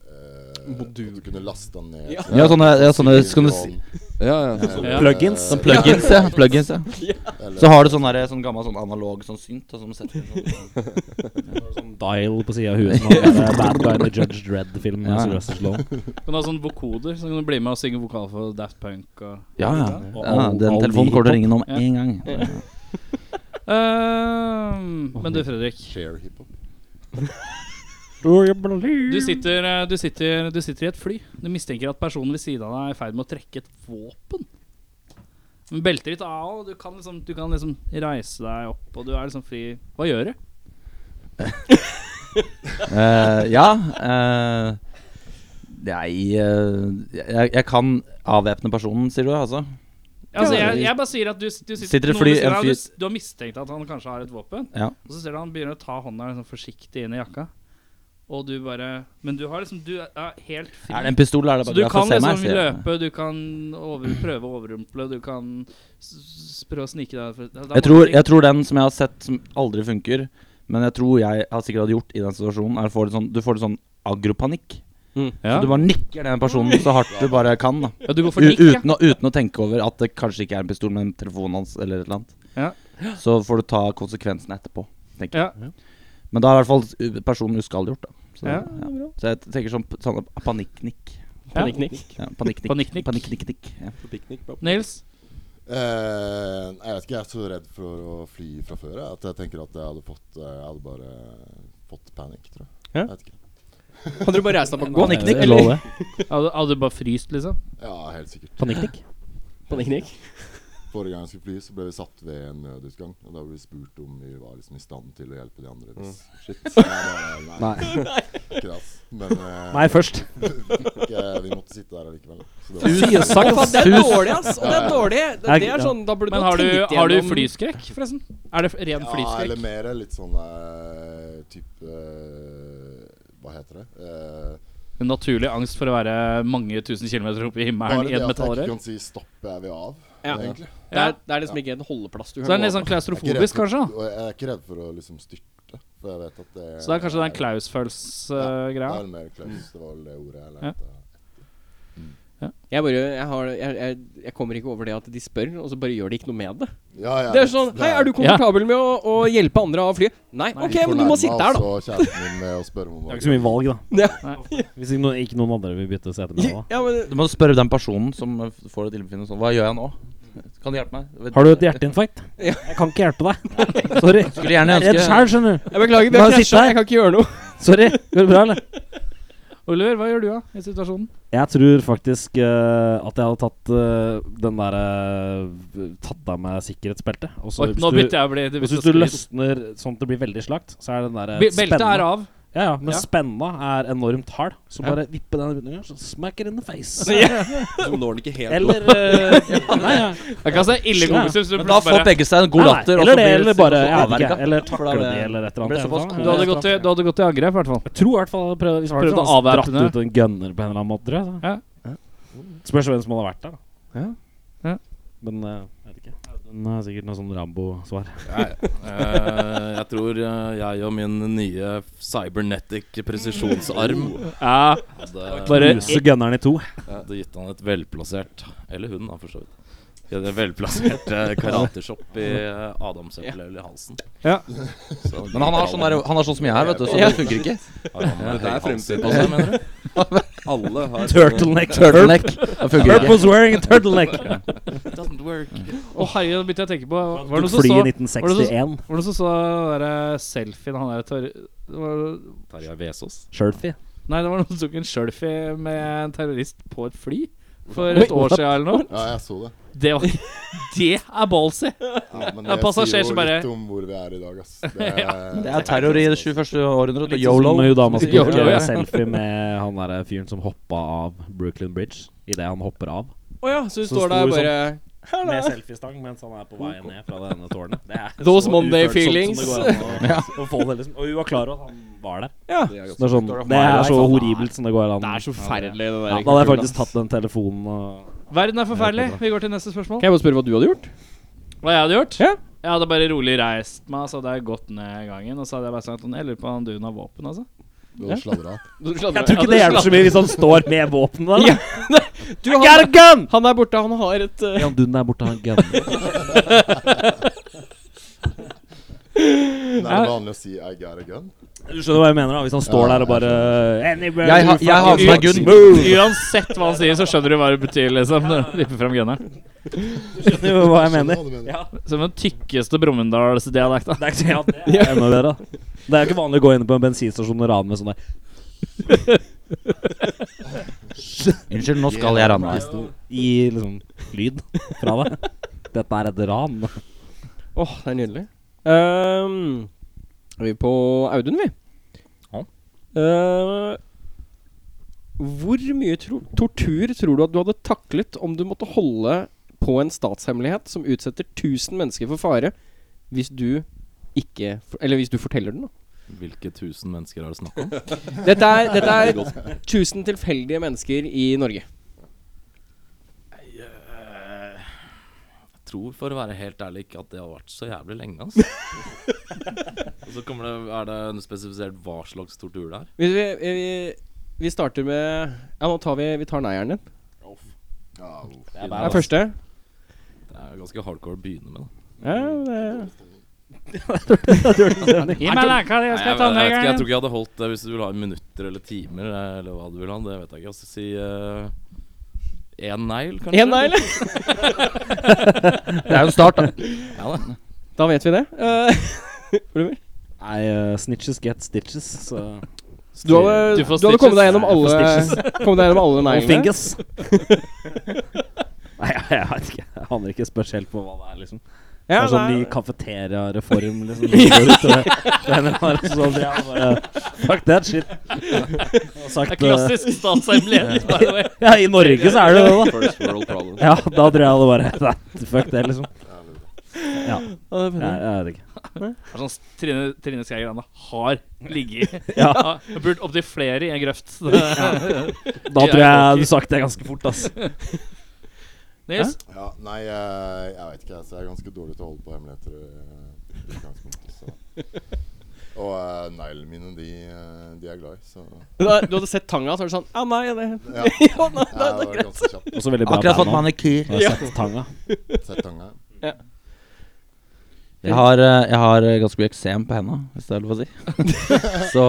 eh, At du kunne laste den ned.
Ja.
til-
sånn,
Ja, sånne, ja, sånne skal du si
Silikon, eh,
Ja, ja.
Ja.
Plugins.
Sånn plugins, ja. Plugins, [LAUGHS] ja.
eller-
Så har du sånn, der, sånn gammel sånn analog sånn synt da, som setter inn sånn
Sånn dial på sida av huet. som han der Bad guy in the Judge Dredd-filmen.
Ja, ja.
med Sylvester Stallone.
Kan du ha sånne vokoder, så kan du bli med og synge vokal for Daft Punk og
Ja, ja.
Og
ja
all-
den
all
telefonen
ny
kommer til å ringe om
Ja.
én gang. Ja.
Ehm, Men du, Fredrik.
Share hiphop.
Du sitter, eh, du, sitter, du sitter i et fly. Du mistenker at personen ved siden av deg er i ferd med å trekke et våpen. Men beltet ditt er av, og du kan, liksom, du kan liksom reise deg opp, og du er liksom fri. Hva gjør du?
Eh, ja eh, Nei eh, jeg, jeg kan avvæpne personen, sier du, altså?
Altså, jeg, jeg bare sier at du, du sitter,
Sitter et
noen
fly-
ved siden
en
av deg, og
fyr-
du, du har mistenkt at han kanskje har et våpen,
Ja.
og så ser du han begynner å ta hånda liksom, forsiktig inn i jakka. Og du bare Men du har liksom Du er helt fri.
Er det en pistol, er
Så
det bare
du
greit å
kan
se
liksom
meg? sier jeg.
løpe, du kan over, prøve å overrumple, du kan s- s- prøve å snike deg for- da- da må
Jeg
du
tror,
ikke-
jeg tror den som jeg har sett som aldri funker, men jeg tror jeg har sikkert hadde gjort i den situasjonen, er å få litt sånn, du får litt sånn agropanikk.
Ja.
Så du bare nikker den personen så hardt du bare kan. da
Ja, du går for
U
nikk, ja.
uten, å, uten å tenke over at det kanskje ikke er en pistol, men telefonen hans eller et eller annet.
Ja.
Så får du ta konsekvensene etterpå. tenker
Ja.
jeg Men da er i hvert fall u- personen uskadeliggjort. da. Så,
Ja,
ja. så jeg tenker sånn p- sånn panikknikk.
Panikknikk.
Ja,
Panikknikk.
panikknikk. Panikknikk-nikk, ja.
Nils?
Eh, jeg vet ikke, jeg er så redd for å fly fra før jeg, at jeg tenker at jeg hadde fått eh, Jeg hadde bare fått panikk, tror jeg.
Ja.
jeg vet ikke.
Hadde du bare reist deg opp og gått?
Panikknikk.
eller-
Lov det.
Hadde, hadde du bare fryst, liksom?
Ja, helt sikkert.
Panikknikk.
Panikknikk.
Forrige gang jeg skulle fly, så ble vi satt ved en nødutgang. Og da ble vi spurt om vi var liksom i stand til å hjelpe de andre. Hvis. Shit. Så jeg bare, nei, [LAUGHS] ikke det, ass. Men eh,
Nei, først.
ikke, vi måtte sitte der allikevel. Så det var,
altså.
Usagt,
Faen, det er dårlig, ass! Og det er dårlig. Det, det
Ja.
er sånn, da burde
Men
ha
har du,
tenkt
har du
igjennom-
flyskrekk, forresten? Er det f- ren
ja, eller
flyskrekk?
mer litt sånn eh, type eh, Hva heter det? Eh,
En naturlig angst for å være mange tusen kilometer oppe i himmelen
Bare
i et
det at jeg ikke
metallrør?
kan si 'stopp, jeg vil av'.
Ja.
egentlig.
Det er, det er liksom ikke en holdeplass du
Så det er
gå
litt
over.
sånn
Jeg er ikke redd
klaustrofobisk,
for-
kanskje? da?
Og jeg er ikke redd for å liksom styrte. For jeg vet at det
Så det er kanskje den Klaus-følelse-greia?
Det er vel mer klaus, det var vel det ordet jeg
Ja.
lærte.
Jeg bare jeg, har, jeg, jeg, jeg kommer ikke over det at de spør, og så bare gjør de ikke noe med det.
Ja, jeg
Det er
vet.
sånn
Det
Hei, er du komfortabel med å, å hjelpe andre av flyet? Nei, OK, men du må
fornærmet
sitte her, da.
også kjæresten min med å spørre om
Det
hva
er ikke så mye valg, da.
Ja.
Hvis ikke noen, ikke noen andre vil bytte sete med deg. da.
Ja, men
Du må spørre den personen som eh, får et illebefinnende sånn Hva gjør jeg nå? Kan du hjelpe meg?
Har du et hjerteinfarkt? Jeg kan ikke hjelpe deg. [LAUGHS] Sorry.
Skulle gjerne
Jeg er redd
ønske
sjæl, skjønner du.
Jeg beklager, vi
Bare
har
sitt
krasja.
der.
Jeg kan ikke gjøre noe.
Sorry. Går det bra, eller?
Oliver, hva gjør du da i situasjonen?
Jeg tror faktisk eh, at jeg hadde tatt eh, den derre Tatt av meg sikkerhetsbeltet. Og så
Oi,
hvis
nå
du-
bytter jeg bli. det
Hvis
bytter
du
skvis.
løsner sånn at det blir veldig slakt, så er den derre
Be- Beltet er av.
Ja, ja, men
Ja.
spenna er enormt hard. Så
Ja.
bare vippe den rundt, så smack it in the
[LAUGHS]
face.
Så når den ikke helt
Eller eh,
[LAUGHS]
Nei, ja.
Jeg kan se ille
Ja.
kompiser hvis du
Men da
plutselig
får
bare-
begge seg en god
Nei,
latter. og
Eller
så
det,
blir
eller
det
bare jeg
situasjonen
vet ikke,
avverget.
Eller
da
takler
er
de,
det-
eller et eller
blir
annet.
det såpass
jeg vet
du hadde,
ikke.
gått til, du hadde gått til angrep, i hvert fall.
Jeg tror i hvert fall jeg prøvde, hvis jeg
Prøvde
prøvde
å avvæpne.
dratt ut en gunner på en eller annen måte, tror jeg. da.
Ja.
Spørs hvem som hadde vært der, da.
Ja. Ja.
Men eh, jeg vet ikke. Den er sikkert noe sånn Rambo-svar.
Eh, jeg tror eh, jeg og min nye cybernetic presisjonsarm
Ja,
hadde,
bare
Knuse gunneren i to.
hadde gitt han et velplassert Eller hun, da, for så vidt. Et velplassert eh, karateshopp i eh, adamseplet eller i halsen.
Ja.
Så-
Men han har sånn, der, han har sånn som jeg her, vet du, så det funker ikke.
Har han en
Det er
høy hals i
fremtiden.
på seg, mener du?
alle har
[LAUGHS] Turtleneck.
Turtleneck. Det funker
Herp
ikke.
was wearing a turtleneck.
Doesn't work.
Å herregud, da begynte jeg å tenke på Var det noen
Tok
som
fly
så,
i
var det noen som-
1961.
var det noen som så den der eh, selfien han der tar- det var-
Terje Vesaas.
Shelfie.
Nei, det var noen som tok en selfie med en terrorist på et fly for et år siden eller
[LAUGHS]
noe.
Ja, jeg så det.
Det, var, det er ballsy!
Ja, men
Ja,
det
passasjer
sier
som
jo
bare-
litt om hvor vi er i dag, ass. Det er,
Det er terror i det 21. århundret. og
Litt sånn
Yolo.
Som jo dama som
Yolo,
tok
ja.
eh, selfie med han derre fyren som hoppa av Brooklyn Bridge. Idet han hopper av.
Å ja, så du
Så sånn.
står der
stor
bare
Med selfiestang mens han er på vei ned fra det ene tårnet. Det er
Those
så
Monday
ufølsomt som det
feelings.
går [LAUGHS] an å- å få det, liksom. Og hun var klar over at han var der.
Det
Det er, sånn, det er så horribelt som det går an.
Det er så forferdelig, det der.
Ja, da hadde jeg faktisk tatt den telefonen og
Verden er forferdelig. Vi går til neste spørsmål.
Kan jeg bare spørre hva du hadde gjort?
Hva jeg hadde gjort?
Ja.
Jeg hadde bare rolig reist meg, så hadde jeg gått ned gangen. Og så hadde jeg bare sagt sånn Jeg lurer på om duen har våpen, altså.
Du hadde sladra.
Jeg tror ikke det hjelper så mye hvis han står med våpenet der.
Ja,
da.
Du,
I got a
han,
gun!
han der borte, han har et eh,
Jan Dunn er borte, han gunner.
Det er vanlig å si 'I got a gun'.
Du skjønner hva jeg mener, da? Hvis han står der og bare Anywhere
Jeg
you
har- jeg har
fucking
med gun.
move.
Uansett hva han sier, så skjønner du hva det betyr, liksom. [LAUGHS] Når han vipper frem gunneren.
[LAUGHS] Skjønner du hva jeg
Skjønner
mener?
hva du mener.
Som den tykkeste Brumunddalsdialekta.
Det er ikke ja, det er enda bedre. da. Det er jo ikke vanlig å gå inn på en bensinstasjon og rane med sånn der.
Unnskyld, nå skal jeg ranne deg.
Gi liksom lyd fra deg. Dette er et ran.
Åh, det er nydelig. Ehm, er vi på Audun, vi?
Ja.
Eh, hvor mye tro tortur tror du at du hadde taklet om du måtte holde på en statshemmelighet som utsetter 1000 mennesker for fare, hvis du ikke for- Eller hvis du forteller den, da.
Hvilke tusen mennesker er det snakk om?
Dette er, dette er 1000 tilfeldige mennesker i Norge.
Jeg tror for å være helt ærlig ikke at det har vært så jævlig lenge. Altså. Og så kommer det, Er det spesifisert hva slags tortur det er?
Hvis vi, vi, vi starter med Ja, nå tar vi, vi tar neieren din. Det
Ja, uff.
er første.
Det er ganske hardcore å begynne med. Da.
Ja, det
Gi meg lenka, jeg
jeg,
skal ta
jeg, vet ikke, jeg tror
ned
ikke jeg hadde holdt det hvis du ville ha i minutter eller timer. eh, Eller hva du vil ha, Det vet jeg ikke. Altså, si én negl, kanskje?
Én negl?
Det er jo en start, da.
Ja, da.
Da vet vi det. Eh, [LAUGHS] Oliver?
Nei, eh, snitches get stitches. Så.
Du hadde,
Du
du
får
hadde kommet deg gjennom
Nei, jeg
alle
får
[LAUGHS] Kommet deg gjennom alle
Og
neglene.
fingers. Nei, jeg, jeg vet ikke. Jeg aner ikke spesielt på hva det er, liksom.
Ja,
det er sånn
nei.
ny kafeteria-reform, liksom. som går ut, og det- det ene var sånn, ja, bare, Fuck that shit. Jeg har sagt,
Det er [LAUGHS] klassisk
[LAUGHS]
statshemmelighet. by the way.
eh, Ja, i Norge så er det det,
[LAUGHS]
da.
First world problem.
Ja, da tror jeg det bare [LAUGHS] nei, Fuck det, liksom. Ja,
Ja, det er bra.
jeg, jeg vet ikke.
Det er Sånn s- Trine, Trine Skei Grande har ligget i.
[LAUGHS]
[LAUGHS]
Ja.
Har Burde opptil flere i en
[LAUGHS]
grøft. Det-
Da tror jeg jeg hadde sagt det ganske fort, ass.
Nils?
Ja, nei, eh, jeg vet ikke. Altså, jeg er ganske dårlig til å holde på hemmeligheter. eh, i utgangspunktet, så. Og uh, neglene mine, de, eh, de er glad i, så
[LAUGHS] Da- Du hadde sett tanga, så er det sånn Ja, nei, det
[LAUGHS]
Ja,
Ja, nei,
jeg var ganske kjapp.
Også veldig bra
Akkurat fått
band,
[LAUGHS]
da.
manikyr.
Har sett tanga.
Sett tanga.
Jeg har, eh, jeg har eh, ganske mye eksem på henda, hvis det er lov å si.
[LAUGHS]
så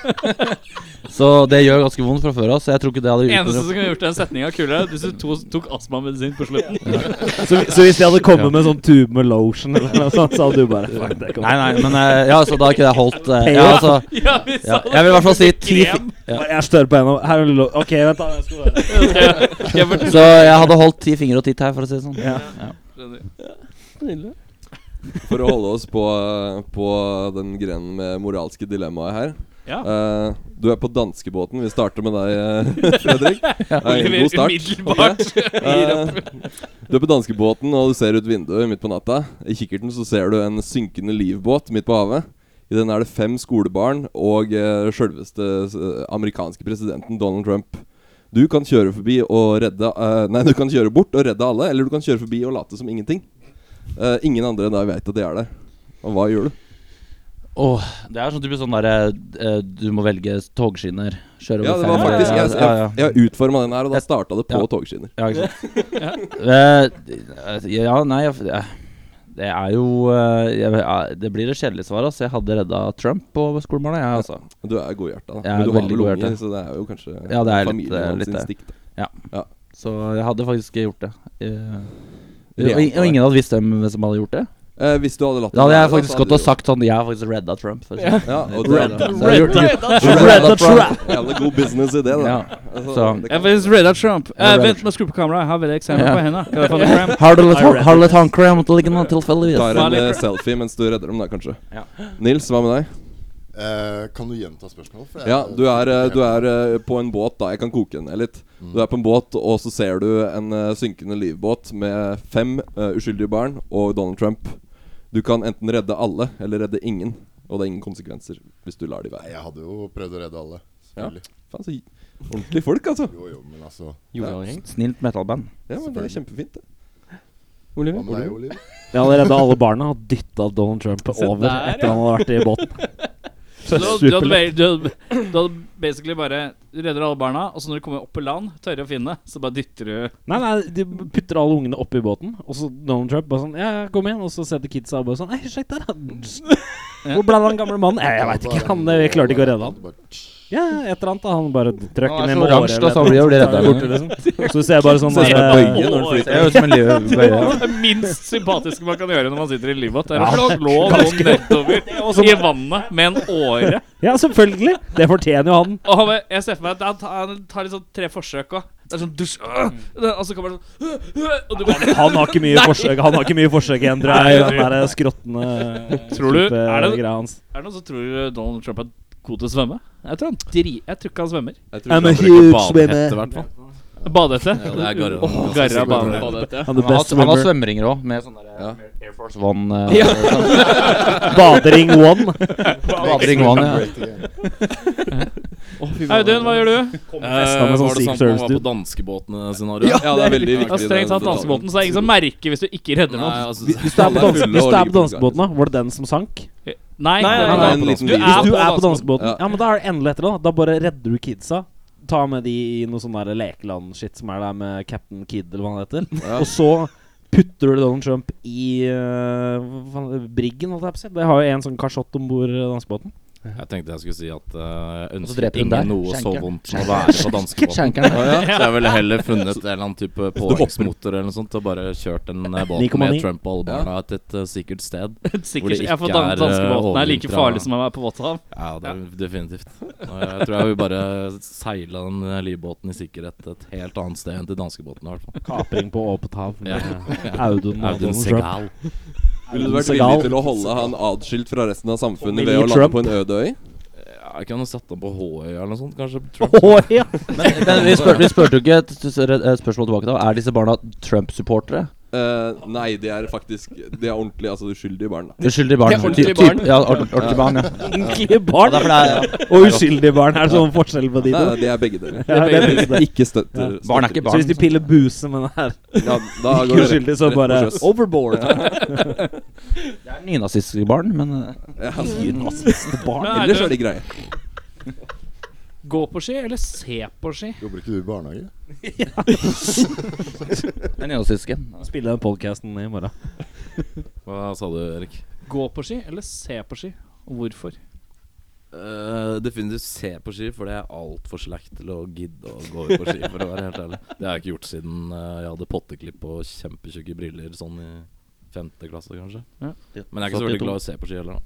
[LAUGHS] Så det gjør ganske vondt fra før av, så jeg tror ikke det hadde gjort
Eneste
noe.
som kunne gjort den setninga kulere, hvis du to, tok astmamedisin på slutten.
Så, så hvis de hadde kommet med sånn tube med lotion eller noe sånt, så hadde du bare Fuck, det kommer
[LAUGHS] Nei, nei, men eh, Ja, så da har ikke det holdt. eh, ja,
Payoff.
altså,
[LAUGHS] Ja, vi
ja.
sa det.
Jeg vil i hvert fall si ti
Krem.
Ja.
Jeg stør på henne. Her er det lo OK, vent, da. Jeg skal bare
Jeg bare
Så jeg hadde holdt ti fingre og titt her, for å si det sånn.
ja.
skjønner.
For å holde oss på, på den grenen med moralske dilemmaet her.
Ja.
Eh, du er på danskebåten. Vi starter med deg, eh,
[LAUGHS]
Fredrik. Nei,
Leverer
god start.
Umiddelbart. [LAUGHS]
Eh, du er på danskebåten, og du ser ut vinduet midt på natta. I kikkerten så ser du en synkende livbåt midt på havet. I den er det fem skolebarn og uh, sjølveste eh, amerikanske presidenten Donald Trump. Du kan kjøre forbi og redde eh, Nei, du kan kjøre bort og redde alle, eller du kan kjøre forbi og late som ingenting. Eh, ingen andre enn deg veit at de er der. Og hva gjør du?
Åh, det er sånn typisk sånn derre eh, Du må velge togskinner. Kjøre
Ja,
over
det var
fem-
faktisk Jeg,
ja, ja.
jeg, jeg utforma den her, og da starta det på
Ja.
togskinner.
Ja, [LAUGHS] ikke sant. Eh, ja, nei jeg, eh, Det er jo eh, jeg, eh, Det blir det kjedelige svaret. Altså. Jeg hadde redda Trump på skolebarna, jeg, altså.
Du er godhjerta, da.
Jeg er
Men du har
veldig
vel
godhjerta.
unger, så det er jo kanskje
Ja, det er litt-
familien
det er
hans
litt eh, det.
instinkt.
Så jeg hadde faktisk gjort det. Eh,
Rent
og, og
der.
ingen hadde visst hvem som hadde gjort det.
Eh, hvis du hadde latt
Da hadde
være,
jeg faktisk
så
gått
du-
og sagt sånn Jeg har faktisk redda Trump. For eksempel.
ja, og det
Redda-
er
Så jeg gjorde-
Redda Trump.
Jævla god businessidé, det. da.
Ja.
Altså,
Så-
det
Jeg har
kan-
faktisk redda Trump. Eh,
redda
vent, nå skrur på kameraet. Jeg har veldig eksempel
Ja.
på henda. Kan jeg få det frem?
sånn. Har du litt hånd- har du litt håndkrem måtte ligge nå,
Tar
tilfeldigvis?
en
Smiley.
eh, selfie mens du redder dem, da, kanskje.
Ja.
Nils, hva med deg?
Eh, kan du gjenta spørsmålet? For jeg-
Ja, du er, eh, du er eh, på en båt, da. Jeg kan koke den ned litt. Du er på en båt, og så ser du en eh, synkende livbåt med fem eh, uskyldige barn og Donald Trump. Du kan enten redde alle, eller redde ingen. Og det er ingen konsekvenser hvis du lar de
Nei,
være.
jeg hadde jo prøvd å redde alle. Selvfølgelig.
Faen, så ordentlige folk, altså.
Jo, jo, men altså
Snilt metalband.
Ja, men Det er kjempefint, det.
Hva med deg, Oliver?
Jeg hadde redda alle barna og dytta Donald Trump over
der, ja.
etter han hadde vært i båten.
Så Du, du, hadde, ba- du, hadde, du hadde basically bare redder alle barna, og så når du kommer opp på land, tørre å finne, så bare dytter du
Nei, nei, de putter alle ungene oppi båten, og så Donald Trump bare sånn Ja, ja, kom igjen. Og så setter kidsa og bare sånn Ei, sjekk der, da. Hvor ble det av den gamle mannen? Jeg, jeg veit ikke. Han, eh, vi klarte ikke å redde han.
Bare-
Ja, ja, et eller annet. da Han bare trøkk
Han er
ned
så
med
oransje, da,
året.
så han blir jo reddet,
Så er det borte, liksom. Så ser jeg bare sånn
Så
der,
jeg
eh,
bøyer når den
Det er jo som en [LAUGHS] løv- bøye.
Det minst sympatiske man kan gjøre når man sitter i livbåt, er å slå lå noen nedover i vannet med en åre.
Ja, selvfølgelig. Det fortjener jo han.
Og han bare- jeg ser for meg at han tar, han tar liksom tre forsøk òg. Det er sånn dusj øh, øh, Og så kommer det sånn øh, øh, Og du bare
Han har ikke mye
Nei.
forsøk Han har ikke mye forsøk igjen, tror jeg. i Den der skrottende
Tror du- er det-
greia hans.
Er det noen som tror Donald Trump er god til å svømme? Jeg tror han dri... Jeg tror ikke han svømmer.
Jeg tror
I'm a
ikke han
huge
Badehette, i
swimmer.
hvert fall.
Badehette.
Ja, det er garra.
Garra badehette.
Han er
Han har,
best
han har
swimmer.
svømmeringer òg, med sånn derre
Ja.
Air Force One. eh, [LAUGHS]
Badering one.
Badring One, ja.
Great again.
Audun, hva gjør du?
festa med
Eh, var
sånn
det
Secret
sånn man
Service,
var på
dude.
danskebåten-scenario?
[LAUGHS]
Ja, det er veldig viktig.
Ja, strengt tatt
den detaljen.
danskebåten, så er det ingen som merker hvis du ikke redder
Nei,
noen.
altså,
Hvis du er på,
Alle er
dans
fulle og
hvis du er
ligger
på
på
danskebåten, da, var det den som sank?
Nei,
Nei,
den er
nei, en
på
liten
danskebåten.
video.
Hvis du er på
danskebåten.
danskebåten,
Ja.
ja, men da er det endelig etter, da. Da bare redder du kidsa. Ta med de i noe sånn der lekeland-shit som er der med Captain Kid, eller hva han heter. Og så putter du Donald Trump i eh, hva faen, briggen, holdt jeg på å si. Det har jo en sånn kasjott om bord danskebåten.
Jeg tenkte jeg skulle si at eh, jeg
Og så
ønsker
dreper hun
ingen
deg.
noe så
Skjenker.
vondt som å være på danskebåten.
Skjenkeren.
Så jeg ville heller funnet en eller annen
[LAUGHS]
type påhengsmotor eller noe sånt og bare kjørt den eh, båten
9,9.
med Trump og alle barna et, et eh, sikkert sted. Hvor
Sikkert.
det
Ja, for
ikke
dan
er, eh,
danskebåten er like
overvintra-
farlig som å være på våthav.
Ja, det er definitivt. Og Jeg tror jeg vil bare seile den eh, livbåten i sikkerhet et helt annet sted enn til danskebåten, i hvert fall.
Kapring på åpent hav med
Ja.
Audun og
Audun
Donald
Segal.
Trump.
Ville du vært villig
Segal.
til å holde han adskilt fra resten av samfunnet
Og
ved å
Millie
lande
Trump.
på en øde øy?
Ja, jeg kunne satt den på Håøya eller noe sånt, kanskje.
[LAUGHS]
Trump.
[LAUGHS] Å, ja.
Men vi, spør, vi spurte jo ikke et s- et spørsmål tilbake da. Er disse barna Trump-supportere?
Eh, nei, de er faktisk De er ordentlig altså uskyldige barn. da
Uskyldige barn.
Det er ordentlige
Ty- typ-
barn.
Ja, ord- ordentlige
[LAUGHS]
barn, ja.
Ordentlige
Ja,
barn
derfor det er, ja.
og uskyldige barn. Er det sånn forskjell på de
Nei,
to?
nei, de er begge deler.
[LAUGHS] Ja, det er det.
Ikke støtter
Barn er ikke
Så hvis de
barn.
piller buse med den her
Ja, da går
Ikke
det rett,
uskyldig, så
rett på
bare
sjøs.
overboard.
Det er nynazistiske barn, men eh,
Ja,
[LAUGHS]
Men er
ellers er
det
de greie.
gå på ski eller se på ski?
Jobber ikke du i barnehage?
det er nynazistiske.
Spille den podkasten i morgen.
Hva sa du, Erik?
Gå på ski eller se på ski? Og Hvorfor?
Eh, definitivt se på ski, for det er altfor slack til å gidde å gå ut på ski. For å være helt ærlig Det har jeg ikke gjort siden eh, jeg hadde potteklipp og kjempetjukke briller sånn i femte klasse, kanskje.
Ja.
Men jeg er ikke så veldig glad i å se på ski heller, da.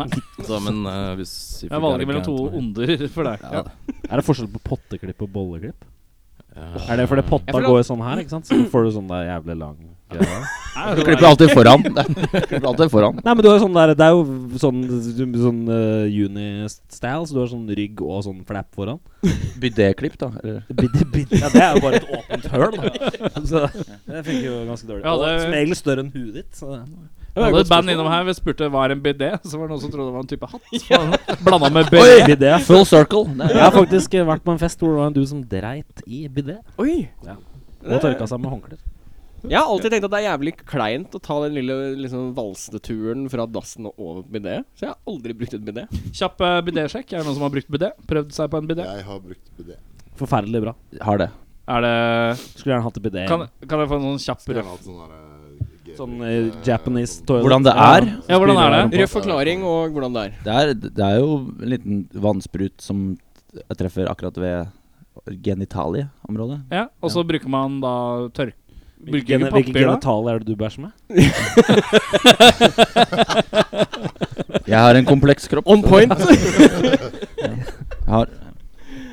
Nei.
Så, men eh, hvis
Jeg valget mellom to onder for deg.
Ja.
Er det forskjell på potteklipp og bolleklipp?
Ja.
Er det fordi potta
Ja, for da-
går jo sånn her, ikke sant? Så får du sånn der jævlig lang greie.
Du klipper alltid [LAUGHS] foran. klipper alltid foran.
Nei, men du har jo sånn der Det er jo sånn, sånn eh, uni-style, så du har sånn rygg og sånn flap [LAUGHS] foran.
Bidé-klipp, da. Eller
Bidde, bidde. Ja, det er jo bare et åpent høl. Så det funker jo ganske dårlig.
Ja,
Og
det-
Som regel større enn huet ditt. Så det.
Jeg hadde et band innom her vi spurte hva er en bidé, så var det noen som trodde det var en type
[LAUGHS]
hatt. Blanda med bøye.
Bidé.
full circle. Det-
Jeg har faktisk eh, vært på en fest hvor det var en du som dreit i bidé.
Oi!
Og tørka seg med håndklær.
Jeg har alltid tenkt at det er jævlig kleint å ta den lille liksom, valseturen fra dassen og over på bidé. Så jeg har aldri brukt et bidé.
Kjapp eh, bidé-sjekk. Er det noen som har brukt bidé? Prøvd seg på en bidé?
Jeg har brukt BD.
Forferdelig bra.
Har det.
Er det
Skulle gjerne hatt en bidé.
Kan, kan jeg få en sånn kjapp
Skulle
røff?
gjerne hatt sånn derre
Sånn eh, Japanese toilet.
Hvordan det er?
Ja, hvordan er det?
Rød forklaring og hvordan det er.
Det er, det er jo en liten vannsprut som treffer akkurat ved genitalieområdet.
Ja, og så bruker man da tørk... Bruker
Hvilke
ikke papir, da?
genitaler er det du bæsjer med?
Jeg har en kompleks kropp.
On
[LAUGHS]
point!
Jeg har,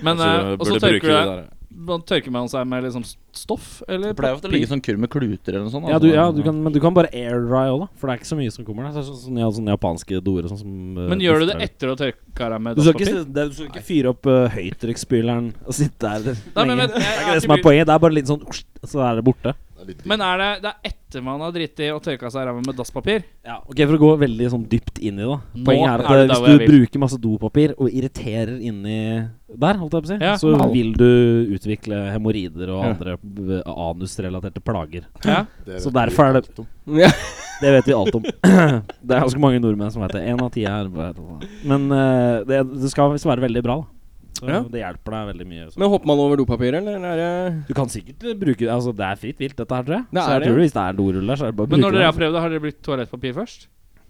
Men
Så
eh,
du
Og så
burde bruke
tørker,
det
du,
der.
man tørker man seg med liksom stoff eller
det pleier ofte å ligge
papir?
sånn kurv med kluter eller noe sånt.
Ja,
altså.
du, ja du kan, men du kan bare air dry òg, da. For det er ikke så mye som kommer der. Så det er sånn, sånn, ja, sånne japanske doer og sånn som eh,
Men gjør du det
dufter.
etter å tørke deg med
Du skal ikke,
dasspapir?
si- det, du skal ikke fyre opp uh, høytrykkspyleren og sitte der
Nei, men,
lenge.
men, jeg,
det
har
er ikke det som er
bry-
poenget. Det er bare litt sånn Så er det borte.
Men eh, er det, det er etter man har driti og tørka seg i ræva med dasspapir?
Ok, For å gå veldig sånn dypt inn i det, da.
Nå
Poenget er at
er det der hvor
eh, hvis du
jeg vil.
bruker masse dopapir og irriterer inni der, holdt jeg på å si,
Ja.
så
Au.
vil du utvikle hemoroider og
Ja.
andre eh, anusrelaterte plager.
Ja.
Så derfor er det-
ja.
Det vet vi alt om. [CLEARS THROAT] det er ganske mange nordmenn som vet det. Én av ti er Men eh, det, det skal visst være veldig bra, da. Så
Ja.
det hjelper deg veldig mye. Så.
Men hopper man over dopapiret, eller er det
Du kan sikkert eh, bruke Altså, det er fritt vilt, dette her, tror jeg.
Det
så
er
jeg
det.
tror hvis det er en dorull der, så er det bare å
Men
bruke
når dere har
det.
prøvd det, har dere brukt toalettpapir først?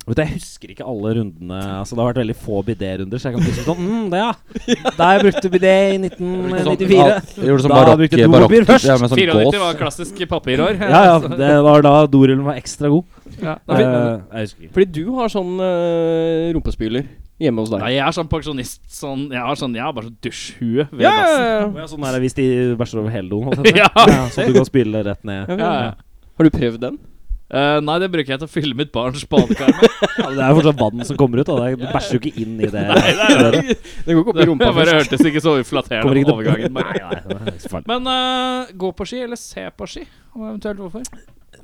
Vet du, jeg husker ikke alle rundene. Altså, det har vært veldig få bidé-runder, så jeg kan ikke si sånn mm, det, ja. Da jeg brukte bidé i
Ja,
1994.
sånn jeg gjorde sånn
Da
barokk,
brukte du
barokk
papir først.
Ja, med sånn
94
gås.
var klassisk papirår.
Ja,
[LAUGHS]
ja. Det var da dorullen var ekstra god.
sånn Ja. Nei,
Eh, jeg husker ikke.
Fordi du har sånn eh, rumpespyler hjemme hos deg.
jeg er sånn pensjonist. Sånn, jeg har sånn, jeg har bare sånn dusjhue ved
Ja, [LAUGHS] ja,
dassen.
ja,
Å
ja.
ja, Sånn er det hvis de bæsjer over hele doen. holdt jeg på å si.
[LAUGHS] Ja.
ja, så du kan spyle rett ned.
Ja,
Ja, ja.
Har du prøvd den?
Eh, nei, det bruker jeg til å fylle mitt barns badekar med.
Ja, men det er jo fortsatt vann som kommer ut. Da. Det er- Du bæsjer jo ikke inn i det. røret.
Den går ikke opp
Det
i rumpa
bare
først.
hørtes ikke så
Kommer
uflatterende
ikke
ut
til-
overgangen.
Nei,
bare.
nei, det er ikke så farlig.
Men eh, gå på ski, eller se på ski, og eventuelt hvorfor.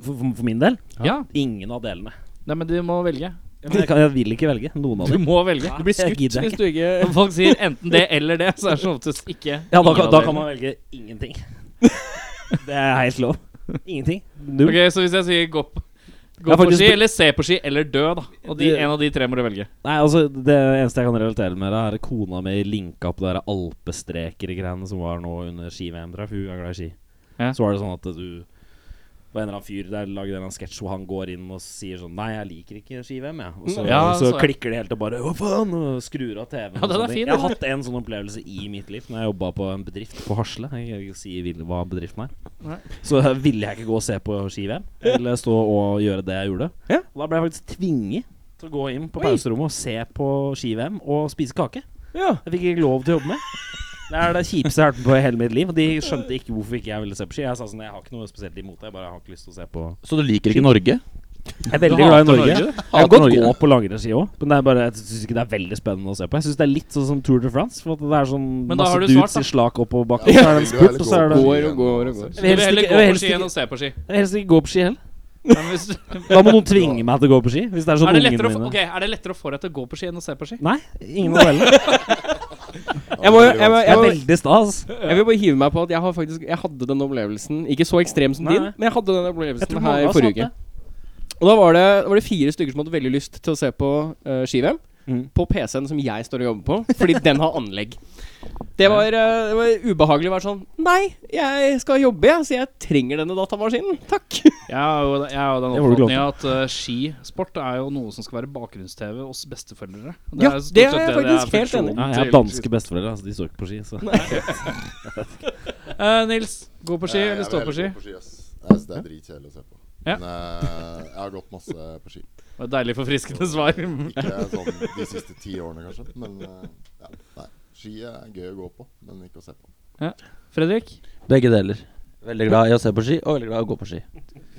For, for, for min del
Ja.
ingen av delene.
Nei, men du må velge.
Jeg, kan, jeg vil ikke velge noen av
Du
dem.
må velge.
Du blir
Jeg
skutt
gidder
hvis du ikke
Når folk sier enten det eller det, så er det som oftest ikke
Ja, da,
ingen
kan-
av
da
delene.
kan man velge ingenting. Det er helt lov. Ingenting. Null.
Ok, så hvis jeg sier gå på, gå
Jeg har
på
faktisk
ski,
br-
eller se på ski, eller dø, da. Og de,
Det-
en av de tre må du velge.
Nei, altså Det eneste jeg kan relatere med, det er kona mi linka på de alpestreker-greiene som var nå under ski-VM. tror jeg, For hun er glad i ski.
Ja.
Så var det sånn at du var en eller annen fyr der lagde en eller annen sketsj hvor han går inn og sier sånn Nei, jeg liker ikke ski-VM, jeg. Og så,
Ja, altså.
så,
så-
klikker de helt og bare Hva faen? Og skrur av TV-en.
Ja, den er
og sånne ting.
fin,
jeg har
den.
hatt en sånn opplevelse i mitt liv Når jeg jobba på en bedrift på Hasle. Jeg kan ikke si vil- hva bedriften er.
Nei.
Så ville jeg ikke gå og se på ski-VM, eller stå og gjøre det jeg gjorde.
Ja.
Og da ble jeg faktisk tvinget til å gå inn på
Oi.
pauserommet og se på ski-VM og spise kake.
Ja.
Jeg fikk ikke lov til å jobbe med. Det er det kjipeste jeg har hørt på i hele mitt liv. Og de skjønte ikke hvorfor ikke jeg ville se på ski. Jeg sa sånn, jeg har ikke noe spesielt imot det, jeg bare har ikke lyst til å se på
Så du liker ikke Norge?
Jeg er veldig glad i Norge. Jeg
Hater
kan godt
Norge.
gå på langrennsski òg, men det er bare, jeg syns ikke det er veldig spennende å se på. Jeg syns det er litt sånn som Tour de France, for at det er sånn
Men da har
masse
du
dudes
svart, da.
i slak oppoverbakke, og så er det en spurt, og så er det
gå- Går og går og går.
Jeg
Du vil
helst
heller
ikke-
gå
jeg vil
på
helst
ski enn
ikke-
å se på ski.
Jeg vil helst ikke gå på ski heller.
Ja, men hvis,
Da må
[LAUGHS]
noen tvinge meg til å gå på ski. Hvis det er sånn
er, det lettere å,
ungene
få-
mine
ok, er det lettere å få deg til å gå på ski enn å se på ski?
Nei, ingen av delene.
Jeg må- jeg må-
Jeg er
må-
veldig stas.
Jeg vil bare hive meg på at jeg har faktisk Jeg hadde den opplevelsen. Ikke så ekstrem som
Nei,
din,
nei.
men jeg hadde den
Jeg
opplevelsen her
tror mange av oss
forrige
hadde
uke.
det.
Og da var det, da var det fire stykker som hadde veldig lyst til å se på eh, ski-VM.
Mm.
på PC-en som jeg står og jobber på, fordi den har anlegg. Det var, eh, det var ubehagelig å være sånn Nei, jeg skal jobbe, jeg, så jeg trenger denne datamaskinen. Takk.
Jeg er jo, jeg er jo den
Det var du glad
oppfatninga at eh, skisport er jo noe som skal være bakgrunns-TV hos besteforeldre.
Ja,
stort
det er
sett
jeg faktisk helt
funksjonen
enig
Nei, jeg har
til
danske besteforeldre, altså de står ikke på ski. Så.
skisport. Eh, Nils, gå på ski
Jeg- jeg
eller
vil
stå på
heller
ski?
gå ski, ass. Jeg synes det er dritkjedelig å se på.
Ja.
Men eh, jeg har gått masse på ski.
Det var et deilig forfriskende svar.
Ikke sånn de siste ti årene, kanskje. Men eh, ja, nei. Ski er gøy å gå på, men ikke å se på.
Fredrik,
Begge deler. Veldig glad i å se på ski, og veldig glad i å gå på ski.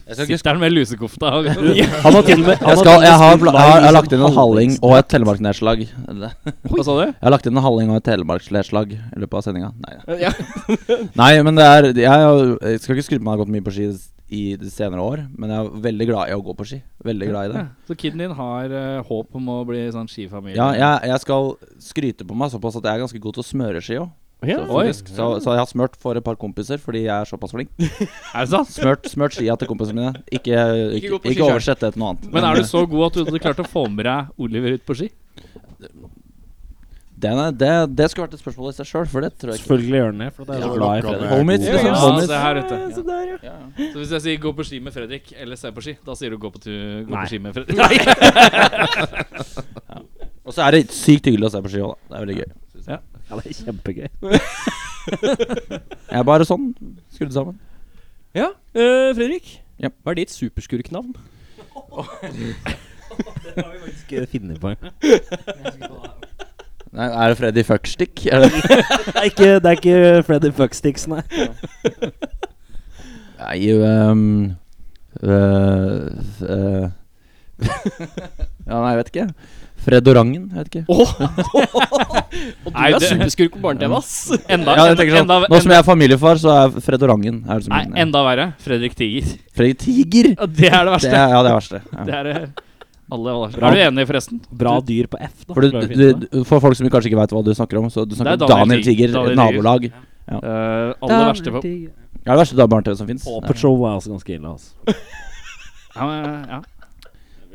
Jeg, skal ikke,
sitter han med lusekofta? og-
Han har til og med
jeg, skal, jeg, har, bla- jeg, har, jeg har lagt inn en halling og et telemarksnedslag. Det-
Hva sa du?
Jeg har lagt inn en halling og et telemarksnedslag i løpet av sendinga. Nei,
Ja.
[LAUGHS] Nei, men det er jeg, har- jeg skal ikke skryte på meg at jeg har gått mye på ski i de senere år, men jeg er veldig glad i å gå på ski. Veldig glad i det.
Ja, Så kiden din har eh, håp om å bli sånn skifamilie?
Ja, jeg, jeg skal skryte på meg såpass at jeg er ganske god til å smøre ski òg.
Ja.
Oi.
Så, så jeg har smurt for et par kompiser fordi jeg er såpass flink.
Er det sant?
Smørt, smørt skia til kompisene mine. Ikke, ikke,
gå på
ikke,
ski selv.
oversett det til noe annet.
Men er du så god at du hadde klart å få med deg Oliver ut på ski?
det, det, det skulle vært et spørsmål i seg sjøl, for det tror jeg ikke.
Selvfølgelig gjør han det, for det er
Ja,
så glad i
lokka
Fredrik.
med
Homies,
god-
liksom.
Ja,
Bonus.
Sånn, se her ute. Ja.
Ja, ja.
Så hvis jeg sier 'gå på ski med Fredrik' eller 'se på ski', da sier du 'gå på, tu- gå
Nei.
på ski med Fredrik'? [LAUGHS] Nei.
Og så er det sykt hyggelig å se på ski òg, da. Det er veldig gøy.
Ja, det er
[LAUGHS]
kjempegøy.
Jeg er bare sånn skrudd sammen.
Ja, eh, Fredrik.
Ja.
Hva er ditt superskurknavn?
Skal jeg finne på en?
Nei, er det Freddy Fuckstick? Er det?
Det er ikke, det er ikke Freddy Fucksticks, nei.
Nei, um, øh, øh. [LAUGHS] Ja, nei, jeg vet ikke. Fredorangen, jeg vet ikke.
Åh! Og du
Nei,
er
det-
superskurk på barne-TV, ass!
Enda,
Ja, jeg tenker sånn,
enda,
Nå som
enda,
jeg er familiefar, så er Fredorangen er liksom det som
nei,
min, ja.
enda verre. Fredrik Tiger.
Freddy Tiger!
Ja, [LAUGHS] det er det
Det
verste.
er, ja, det er verste. Ja.
Det er eh, alle alle- Er du enig, forresten?
Bra dyr på F, da.
For, du,
Klarer å
du,
finne på det.
du, for folk som kanskje ikke veit hva du snakker om, så du snakker
Det er
om Daniel
Daniel
Tiger,
Tiger. Daniel
nabolag.
Eh, aller verste på
Det er det verste barne-TV som fins.
Paw Patrol er også ganske ille, altså.
ja, men, ja.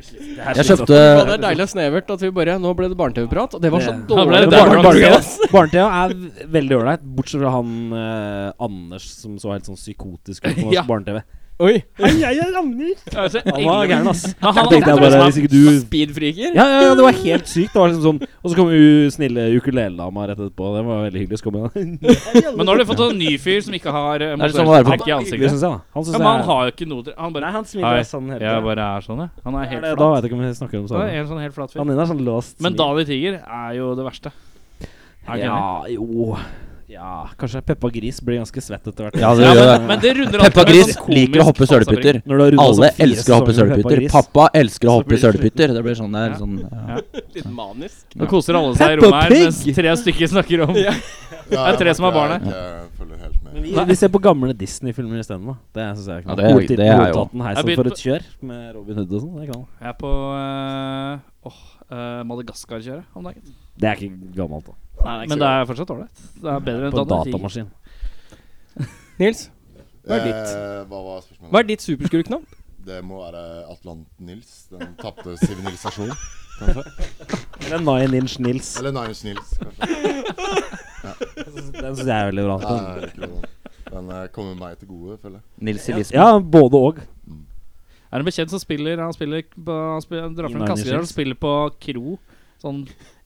Jeg kjøpte
Ja, det er deilig og snevert at vi bare Nå ble det barne-TV-prat, og det var så
Det-
Da ble
dårlig
det
barne-
barne-
barne-TV.
barne-
ass.
Barne-TV er v- veldig ålreit, bortsett fra han eh, Anders som så helt sånn psykotisk ut på norsk
Ja.
barne-TV.
Oi.
Jeg er Anders!
Det er så
Han var
ille.
gæren, ass.
Ja, Altså, han-
Jeg tenkte
han-
jeg bare
han-
hvis ikke du
Speedfreaker.
ja, ja, ja, det var helt sykt. Det var liksom sånn Og så kom jo snille ukulelelama rett etterpå. Det var veldig hyggelig. Så kom han
Men nå har du fått en ny fyr som ikke har eh,
Det er sånn å være på-
trekk i
Hyggelig,
ansiktet.
synes jeg, da.
Ja,
Han synes
men han
jeg
har jo ikke noe til- Han bare
Nei, han
Hei.
smiler sånn hele
Jeg
tida.
bare er sånn, jeg. Han er helt
Da
flat.
vet jeg ikke om vi snakker om det
Han
samme.
er en sånn helt flat fyr.
Han inn er sånn låst.
Men
smil.
Daniel Tiger er jo det verste. Er ikke enig?
Ja, jo Ja, kanskje Peppa Gris blir ganske svett etter hvert.
Ja, det
Ja,
gjør det.
men, men det runder
Peppa
alltid med
Gris
sånn komisk
liker å hoppe
falsabrik.
sølepytter.
Når du har rundet
Alle
sånn fire
elsker å hoppe
sesonger med Peppa
sølepytter.
Gris.
Pappa elsker å
Så
hoppe
blir det
sølepytter. Det blir sånn der.
Ja.
Sånn, ja.
Litt manisk.
Nå koser alle seg i
Peppa
rommet her,
Pig!
mens tre stykker snakker [LAUGHS] om
Ja,
Det er tre som har
merker
barnet.
Jeg, ikke følger helt med.
Vi, vi ser på gamle Disney-filmer isteden, da. Det syns jeg er
Ja,
knall.
det er- det er jo-
Rotaten
Jeg
Heisen
begynte
for
på-
et kjør med Robin Hood og sånn. Det er knall.
Jeg er på eh, åh, eh, Madagaskar-kjøret om dagen.
Det er ikke gammelt, da.
Men det er fortsatt ålreit. Det er bedre enn
På en
Daniel Tiger.
datamaskin.
Nils, Hva er ditt?
Eh, hva var spørsmålet?
hva er ditt superskurknavn?
Det må være Atlanten-Nils. Den tapte sivilisasjon, kanskje.
Eller Nine Inch Nils.
Eller Nines-Nils, kanskje.
Den syns jeg er veldig bra.
Nei, jeg liker den. Den eh, kommer meg til gode, føler jeg.
Nils Elisabeth.
Ja, både og.
Er det en bekjent som spiller Han spiller på, han spiller, han drar
I
frem
Nine
kassegitar og
Inches.
spiller på Kro sånn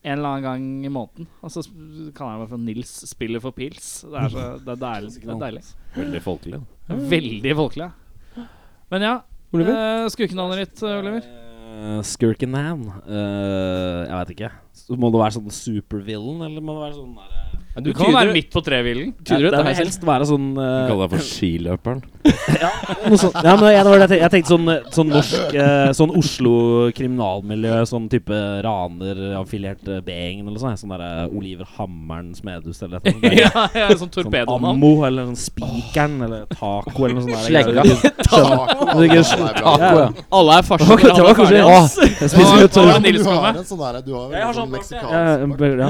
en eller annen gang i måneden. Og så sp- kaller jeg meg for Nils spiller for pils. Det er, så, det er
[LAUGHS]
deilig. Det er deilig.
Veldig folkelig.
Veldig folkelig. ja. Men ja,
Oliver?
eh, skukenavnet ditt, eh, Oliver?
Uh, Skurkenham. eh, jeg veit ikke. Så må det være sånn supervillain, eller må det være sånn derre
Du kan være midt på trevillen.
Tyder
Ja,
du dette
[LAUGHS]
vil
her selv?
helst være sånn eh,
Kall deg for skiløperen.
Noe sånt. Ja, men jeg, det var det jeg, tenkte, jeg tenkte sånn, eh, sånn norsk eh, Sånn Oslo kriminalmiljø, sånn type raner, affiliert eh, B-gjengen eller sånn. Sånn derre Oliver Hammeren Smedhus eller et
[LAUGHS]
eller annet.
ja, ja, sånn
Sånn
torpedonavn.
Ammo eller sånn Spikeren eller Taco eller noe sånt. der.
Slegga.
Taco,
ikke-
det er bra.
Ja, ja.
Alle er farser.
[LAUGHS] Det var- det var kanskje-
kanskje
Jeg
Hva
spiser jo
hva
tørr.
var det
du
Nils kom
har
med?
en sånn der, du har
Jeg har
en sånn
sånn bak,
meksikansk
Ja,
bak.
ja,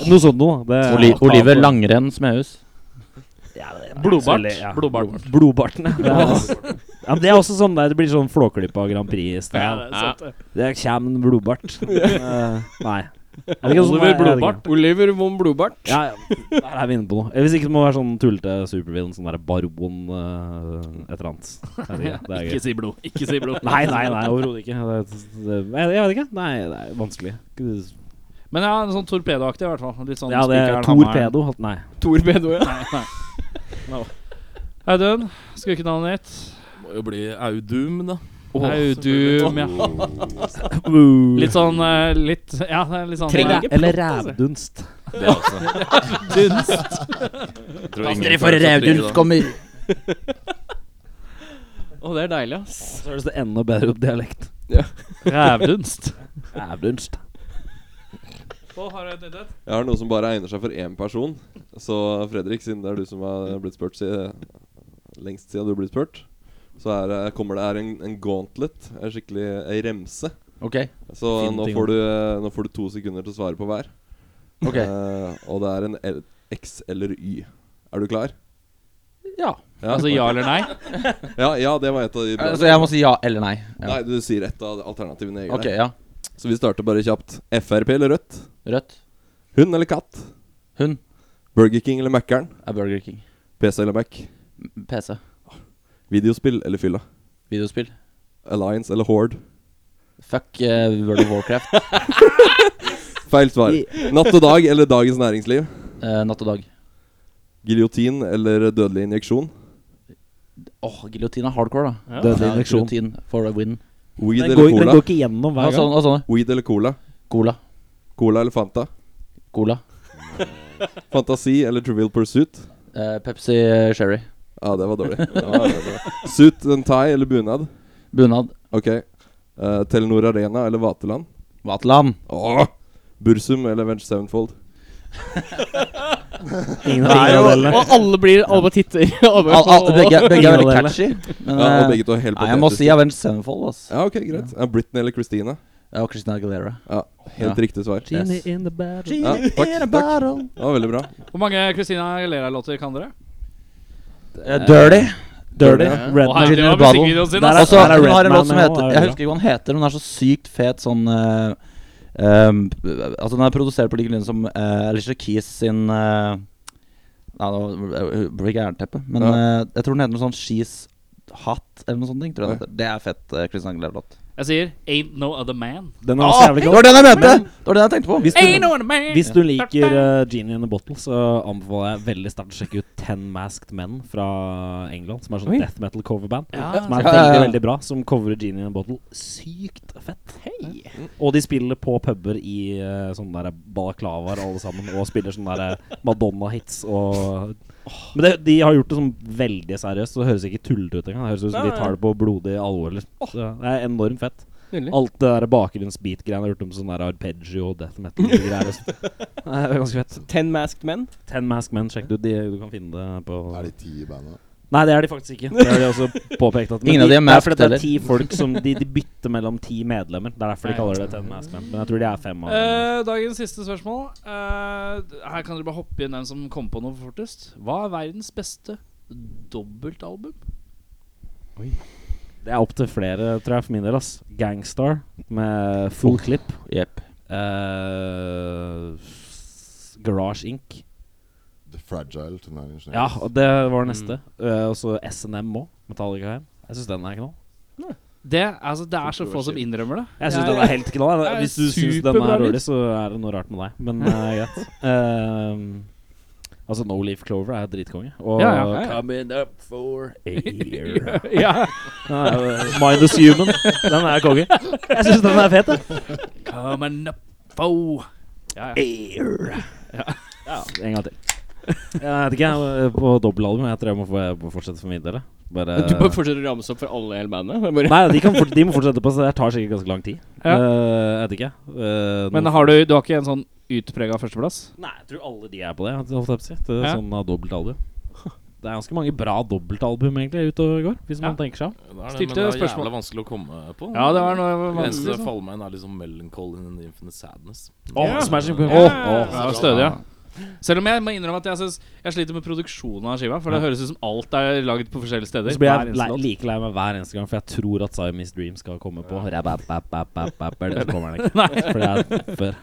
ja. Noe sånt noe. Det er-
Oli Oliver Langrenn Smehus.
Ja, det er-
Blodbart.
Veldig, ja.
Blodbart.
Blodbarten, ja. Det er, Ja, men det er også sånn der, det blir sånn Flåklypa Grand
det
Prix-style.
er sånn. sant, det.
Det kommer en
[LAUGHS]
blodbart. Eh, nei. Jeg vet ikke hva som
Oliver
er- jeg vet ikke.
Blodbart.
Oliver von Blodbart.
Ja, ja. Der er vi inne på noe. Hvis ikke det må være sånn tullete supervillain, sånn der baron eh, et eller annet. Jeg vet ikke, det er
Ikke
gøy.
si blod. Ikke si blod.
Nei, nei, nei, overhodet ikke. Det, det, jeg, jeg vet ikke. Nei, det er vanskelig.
Men ja, en sånn torpedoaktig i hvert fall. Litt sånn
Ja, det er
spikeren, hammeren.
torpedo. Nei.
Tor Bedo, ja.
Nei, nei. Audun, skal vi ikke ta noe nytt?
Må jo bli Audum, da.
Audum, ja. Litt sånn eh, litt, Ja, det er litt sånn
Trenger ikke
Eller
plott, altså.
rævdunst.
Det også.
Dunst.
Andre for Raudun kommer.
Å, det er deilig, ass.
Så høres det enda bedre ut dialekt.
Rævdunst.
Rævdunst.
Pål, har du et nytt et?
Jeg har noe som bare egner seg for én person. Så Fredrik, siden det er du som har blitt spurt si, lengst siden du har blitt spurt, så er, det- kommer det her en, en gauntlet. En skikkelig ei remse.
Ok.
Så
Fin
nå
ting.
får, du, eh, nå får du to sekunder til å svare på hver.
Ok.
Eh, og det er en L X eller Y. Er du klar?
Ja.
Ja,
Altså ja eller nei?
[LAUGHS] ja, ja det var et av de bra.
Så Altså, jeg må si ja eller nei. Ja.
Nei, du sier ett av alternativene. jeg
Ok,
greier.
ja.
Så vi starter bare kjapt. Frp eller Rødt?
Rødt.
Hund eller katt?
Hund
Burger King eller Mækkern?
er Burger King.
PC eller Mac?
PC.
Videospill eller fylla?
Videospill.
Alliance eller Horde?
Fuck eh, World of Warcraft. [LAUGHS]
Feil svar. Natt og dag eller Dagens Næringsliv?
Eh, natt og dag.
Giljotin eller dødelig injeksjon?
Åh, giljotin er hardcore, da.
Ja.
Dødelig injeksjon.
Giljotin for a win.
Weed
Den
eller
går, den
cola?
går ikke gjennom hver
Og
gang.
sånn-
sånne, og sånne.
Weed eller cola?
Cola.
Cola eller Fanta?
Cola.
Fantasi eller Trivial Pursuit?
Eh, Pepsi eh, Sherry.
Ja, ah, det var dårlig. Det var veldig bra. Suit and tie eller bunad?
Bunad.
Ok. Eh, Telenor Arena eller Vaterland?
Vaterland.
Åh! Bursum eller Venge Sevenfold?
Ingen av ingen av delene.
og alle blir Alle bare
[LAUGHS]
titter. Alle bare
Al al
på-
[LAUGHS] begge, begge er
Ingen
veldig
av
catchy. Men
Ja, og
eh,
begge to er helt
nei, jeg må
patetiske.
si Avenge Sevenfold. Ass.
Ja, ok, greit. Ja, Britney eller Christina?
Ja, og Christina Aguilera.
Ja, Helt
Ja.
riktig svar.
Yes.
Genie in the battle.
Ja, takk, takk. Det var veldig bra.
Hvor mange Christina Aguilera-låter kan dere?
Eh, dirty.
Dirty.
Å, herregud,
Redman.
det var
Battle.
musikkvideoen sin,
Der
ass.
er-
Og så
Red
hun har en
Man
låt som
med
heter
nå, er
Jeg
bra.
husker ikke hva den heter, men den er så sykt fet sånn eh, ehm, Altså, den er produsert på like linje som eh, Alicia Keys sin eh, Nei, nå blir det eh, jernteppe, men eh, jeg tror den heter noe sånn She's Hot eller noe sånt. Tror jeg den heter. Det er fett. Uh, Christian Aguilera-låt. Ah,
Jeg sier Ain't No Other Man.
Den er også jævlig
det
god.
var den jeg mente! Det var den jeg tenkte på.
Hvis
Ain't
du,
No Other [LAUGHS] Man!
hvis du liker eh, Genie in the Bottle, så anbefaler jeg veldig sterkt å sjekke ut Ten Masked Men fra England. Som er sånn
Oi.
death metal coverband.
Ja.
Som er
Ja, ja, ja.
veldig veldig bra. Som coverer Genie in a Bottle sykt fett. Og de spiller på puber i eh, sånne der balaklavaer alle sammen. Og spiller sånne der eh, Madonna-hits og Men det, de har gjort det sånn veldig seriøst, så det høres ikke tullete ut engang. Det høres ut som de tar det på blodig alvor. Eller. Så det er enormt fett.
Nydelig.
Alt det der bakgrunnsbeat-greiene har gjort om sånn der arpeggio og altså. death metal-greier.
[LAUGHS]
og sånt. Nei, Det er ganske fett.
Ten Masked Men.
Ten Mask Men, sjekk det ut. De, du kan finne det på
Er de ti i bandet?
Nei, det er de faktisk ikke. Det har de
[LAUGHS]
også påpekt. At, men
Ingen av de er
det er fordi
masked
det
heller.
er ti folk som de, de bytter mellom ti medlemmer. Det er derfor de kaller det Ten Mask Men. Men jeg tror de er fem. Av dem.
Eh, dagens siste spørsmål. Eh, her kan dere bare hoppe inn den som kom på noe fortest. Hva er verdens beste dobbeltalbum?
det er opp til flere, tror jeg, for min del. ass Gangstar med
Oh.
full clip.
Jepp.
Eh, s- Garage Inc.
The Fragile til Nine Inch Nails.
Ja, og det var neste.
Mm.
Eh, og så SNM òg. Metallica her. Jeg syns den er knall.
Det, altså, det er så få som innrømmer det.
Jeg syns den er helt knall.
det er
Hvis du syns den
superbra
er
lyd.
dårlig, så er det noe rart med deg.
[LAUGHS]
Men eh, greit. Eh, altså, No Leaf Clover er dritkonge. Og
Ja, ja, ja, ja.
Coming Up For A Year.
[LAUGHS] ja.
Den er jo- Minus Human. Den er konge. Jeg syns den er fet, jeg.
Coming up fo. Ja, ja.
En gang til. Jeg vet ikke, jeg er på dobbeltalbum. Jeg tror jeg må, få, jeg må fortsette for min del. jeg. Bare,
Du bare fortsetter å ramse opp for alle i hele bandet. Det er Bare.
Nei, de, kan fort, de må fortsette på, så det tar sikkert ganske lang tid.
Ja.
Eh, jeg vet ikke. Eh,
Men
nå-
har du, du har ikke en sånn utprega førsteplass?
Nei, jeg tror alle de er på det. Holdt jeg på å si. Det er
Ja.
sånn av dobbeltalbum. Det er ganske mange bra dobbeltalbum egentlig ute og går, hvis
Ja.
man tenker seg om.
Stilte
Stilte det, men det er
spørsmål.
jævla vanskelig å komme på.
Ja, det var noe
Det eneste
vanskelig.
som
Sånn.
faller meg inn, er liksom Melancholy and Infinite Sadness.
Åh, Smashing Pumpkins.
Åh, åh, det var stødig, ja. Selv om jeg må innrømme at jeg, synes, jeg sliter med produksjonen av skiva. For det høres ut som alt er lagd på forskjellige steder.
Så blir
Hver
jeg
eneste
lei,
låt.
like lei meg hver eneste gang, for jeg tror at Siamese Dream skal komme på. Rabababababababab, Så kommer
[LAUGHS]
den ikke. For det er før.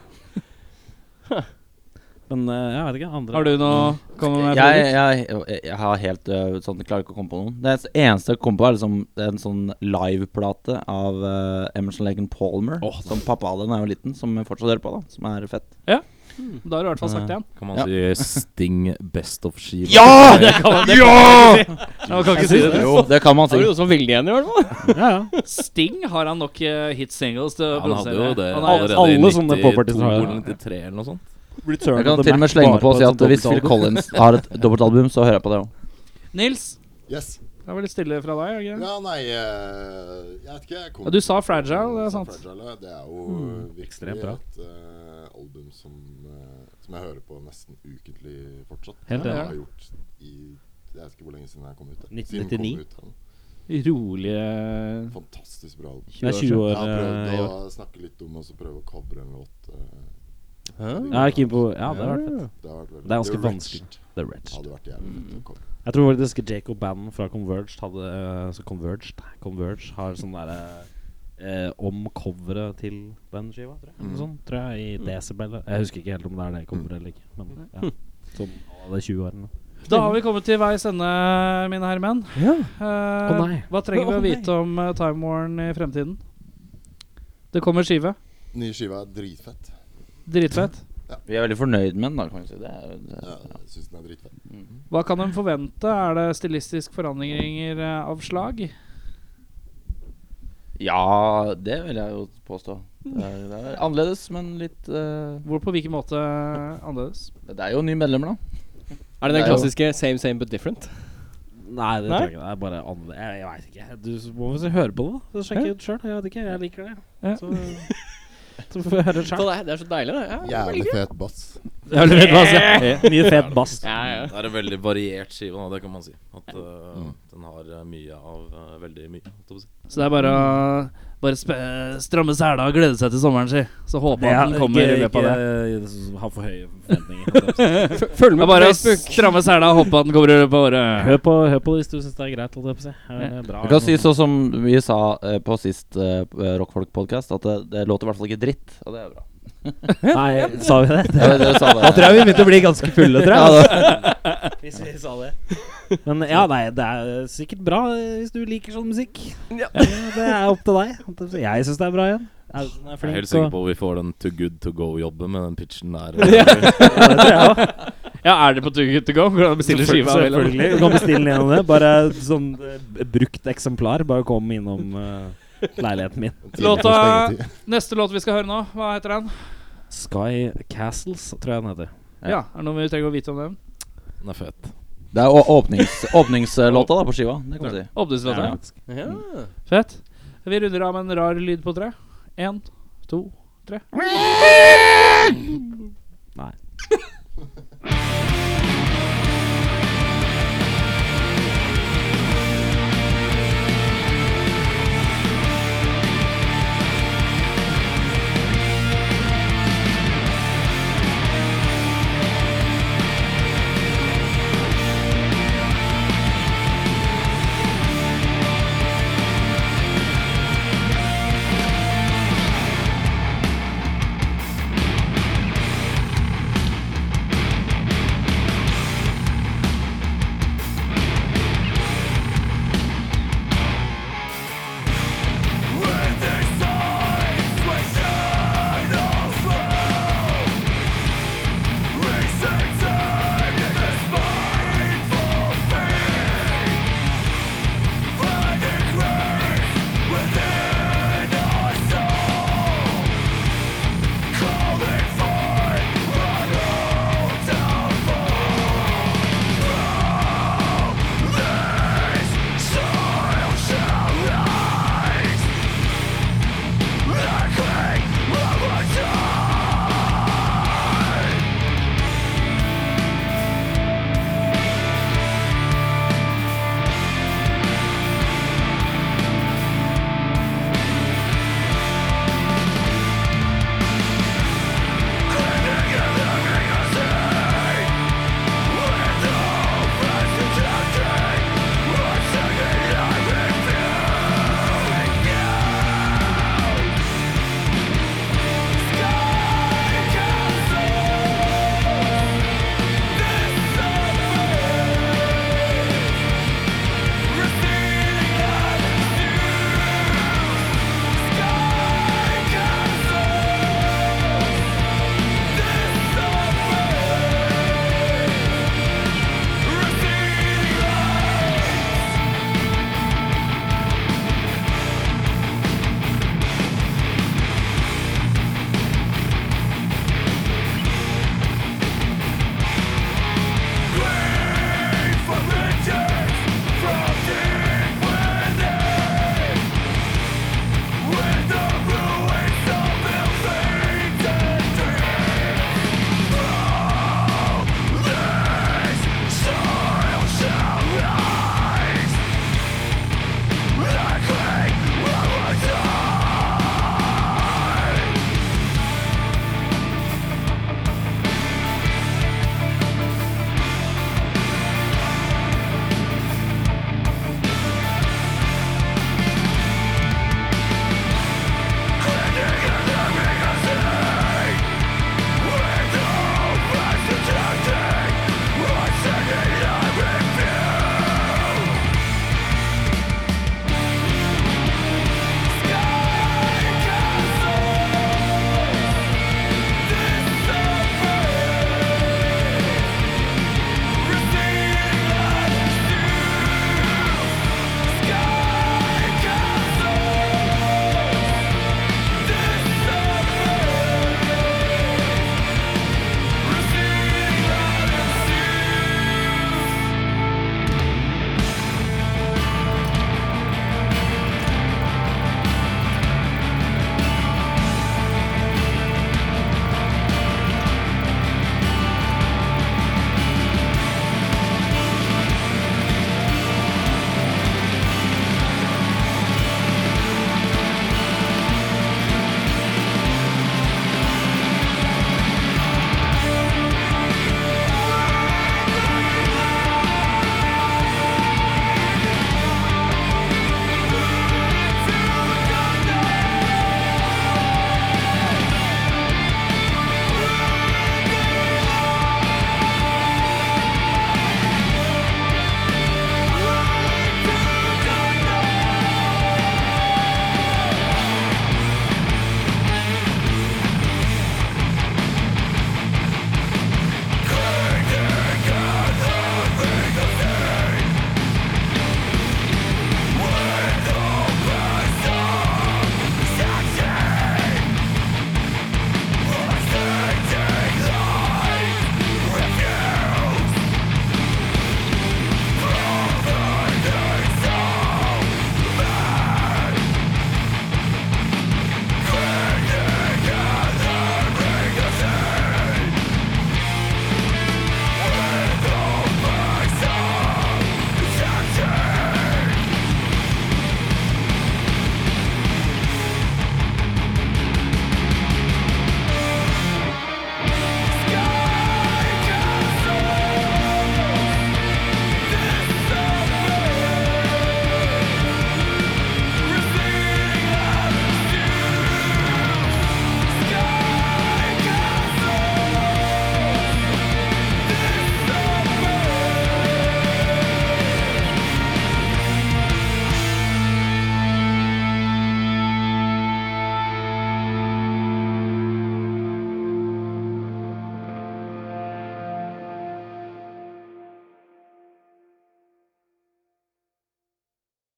Men eh, jeg vet ikke. Andre
Har du noe å komme med?
jeg,
Fredrik?
jeg, jeg, jeg har helt øh, sånn, klarer ikke å komme på noen. Det eneste jeg kom på, er liksom en sånn liveplate av øh, Emerson Lagan Palmer. som pappa hadde da jeg var liten, som jeg fortsatt hører på. da Som er fett.
Da har du i hvert
[LAUGHS]
fall sagt det igjen.
Kan man si Sting best of-skiva?
Det kan man, det kan man ikke si. Man kan ikke si det.
Jo, [LAUGHS] det kan man
Da er
si.
du også veldig enig, i hvert fall.
Sting, har han nok eh, hit singles til å
Han hadde jo det
Han har-
allerede
alle
i
sånne
92
popartister har jo
eller 93 eller noe sånt.
Return
Jeg kan til og med slenge meg på sånn og si at hvis Phil Collins har [LAUGHS] et dobbeltalbum, så hører jeg på det òg.
Nils,
Yes.
det var litt stille fra deg. ikke?
Ja, nei eh, Jeg vet ikke. Jeg kom
Ja, du
ikke
sa
på-
Fragile, det er
jeg sa
sant. Mm.
Fragile, det er jo virkelig
ekstremt bra.
et eh, album som, eh, som jeg hører på nesten ukentlig fortsatt.
Helt
Det
enig.
har jeg gjort i Jeg vet ikke hvor lenge siden jeg kom ut. da.
1999?
Siden kom ut,
Rolige
ja. Fantastisk bra album.
Det er 20
Jeg
år
har
eh, i
prøvd
år.
å snakke litt om og så prøve å covre en låt. eh,
Jeg er keen på Ja, det har vært fett.
Det har vært veldig
Det er ganske
The Wretched
vanskelig. The Wretched.
Hadde vært jævlig fett å covre.
Jeg tror faktisk Jacob Bannon fra Converged hadde eh, Så Converged Converge har sånn derre eh, Om coveret til den skiva, tror jeg. Sånn, tror jeg, I decibel. Jeg husker ikke helt om det er det coveret eller ikke. Men ja. Sånn alle 20-årene.
Da har vi kommet til veis ende, mine herremenn.
Ja.
Eh,
Å nei.
Hva trenger vi
Å
å vite om eh, Time Warn i fremtiden? Det kommer skive.
Nye skiva er dritfett.
Dritfett.
Vi er veldig fornøyd med den, da. kan vi si det er, det er,
Ja, Jeg syns den er dritfett.
Hva kan en forvente? Er det stilistisk forandringer eh, av slag?
Ja, det vil jeg jo påstå. Det er, det er annerledes, men litt øh,
Hvor på hvilken måte eh, annerledes?
Det er jo nye medlemmer, da.
Er det
Det
den
er jo-
klassiske same same but different?
Nei, det
Nei?
tror jeg ikke. Det er bare andre Jeg, jeg veit ikke. Du s- må vel høre på det, da. Så Sjekke ut sjøl. Jeg vet ikke. Jeg liker det.
Ja.
Så, så får vi høre
Så
sjøl.
det, er, det er så deilig, det. Ja.
Jævlig fet bass.
Jævlig fet bass, [LAUGHS] ja. Mye fet bass.
Ja, ja.
Det er en veldig variert skive, da, det kan man si. At øh, Den har øh, mye av øh, veldig mye. holdt jeg på å si.
Så det er bare å bare spe- stramme sela og glede seg til sommeren, si. Så håpe at den kommer i løpet av det.
Ha for høye forventninger.
F- Følg
Det
med
er
på
bare å
Facebook.
stramme sela og håpe at den kommer i løpet av året.
Hør på, hør på det hvis du syns det er greit. Holdt jeg på å si. Det er bra.
Du kan si sånn som vi sa eh, på sist eh, Rockfolk-podkast, at det, det låter i hvert fall ikke dritt. Og det er bra.
Nei, sa vi det?
Ja, dere
[LAUGHS]
sa det.
Da tror jeg vi begynte å bli ganske fulle, tror jeg.
Ja,
[LAUGHS] Hvis vi sa det. Men ja, nei, det er sikkert bra eh, hvis du liker sånn musikk. Eh, Det er opp til deg. Jeg syns det er bra igjen. Ausen er
Jeg er helt
flink.
sikker
og-
på at vi får den too good to go-jobben med den pitchen
[LAUGHS]
der. eh,
Ja, er det på Too Good To Go? Går det an å bestille skiva? eller?
Selvfølgelig. Du kan bestille den gjennom det. Bare sånn eh, b- brukt eksemplar. Bare kom innom eh, leiligheten min.
En time på
Låta-
stengetid.
Neste låt vi skal høre nå, hva heter den?
Sky Castles, tror jeg den heter.
Ja.
Ja, Er det noe vi trenger å vite om den?
Den er fet.
da. Det er å- åpnings, åpningslåta da på skiva. Det kan vi si.
Åpningslåta?
Ja.
Ja.
Fett. Vi runder av med en rar lyd på tre. Én, to, tre.
Nei.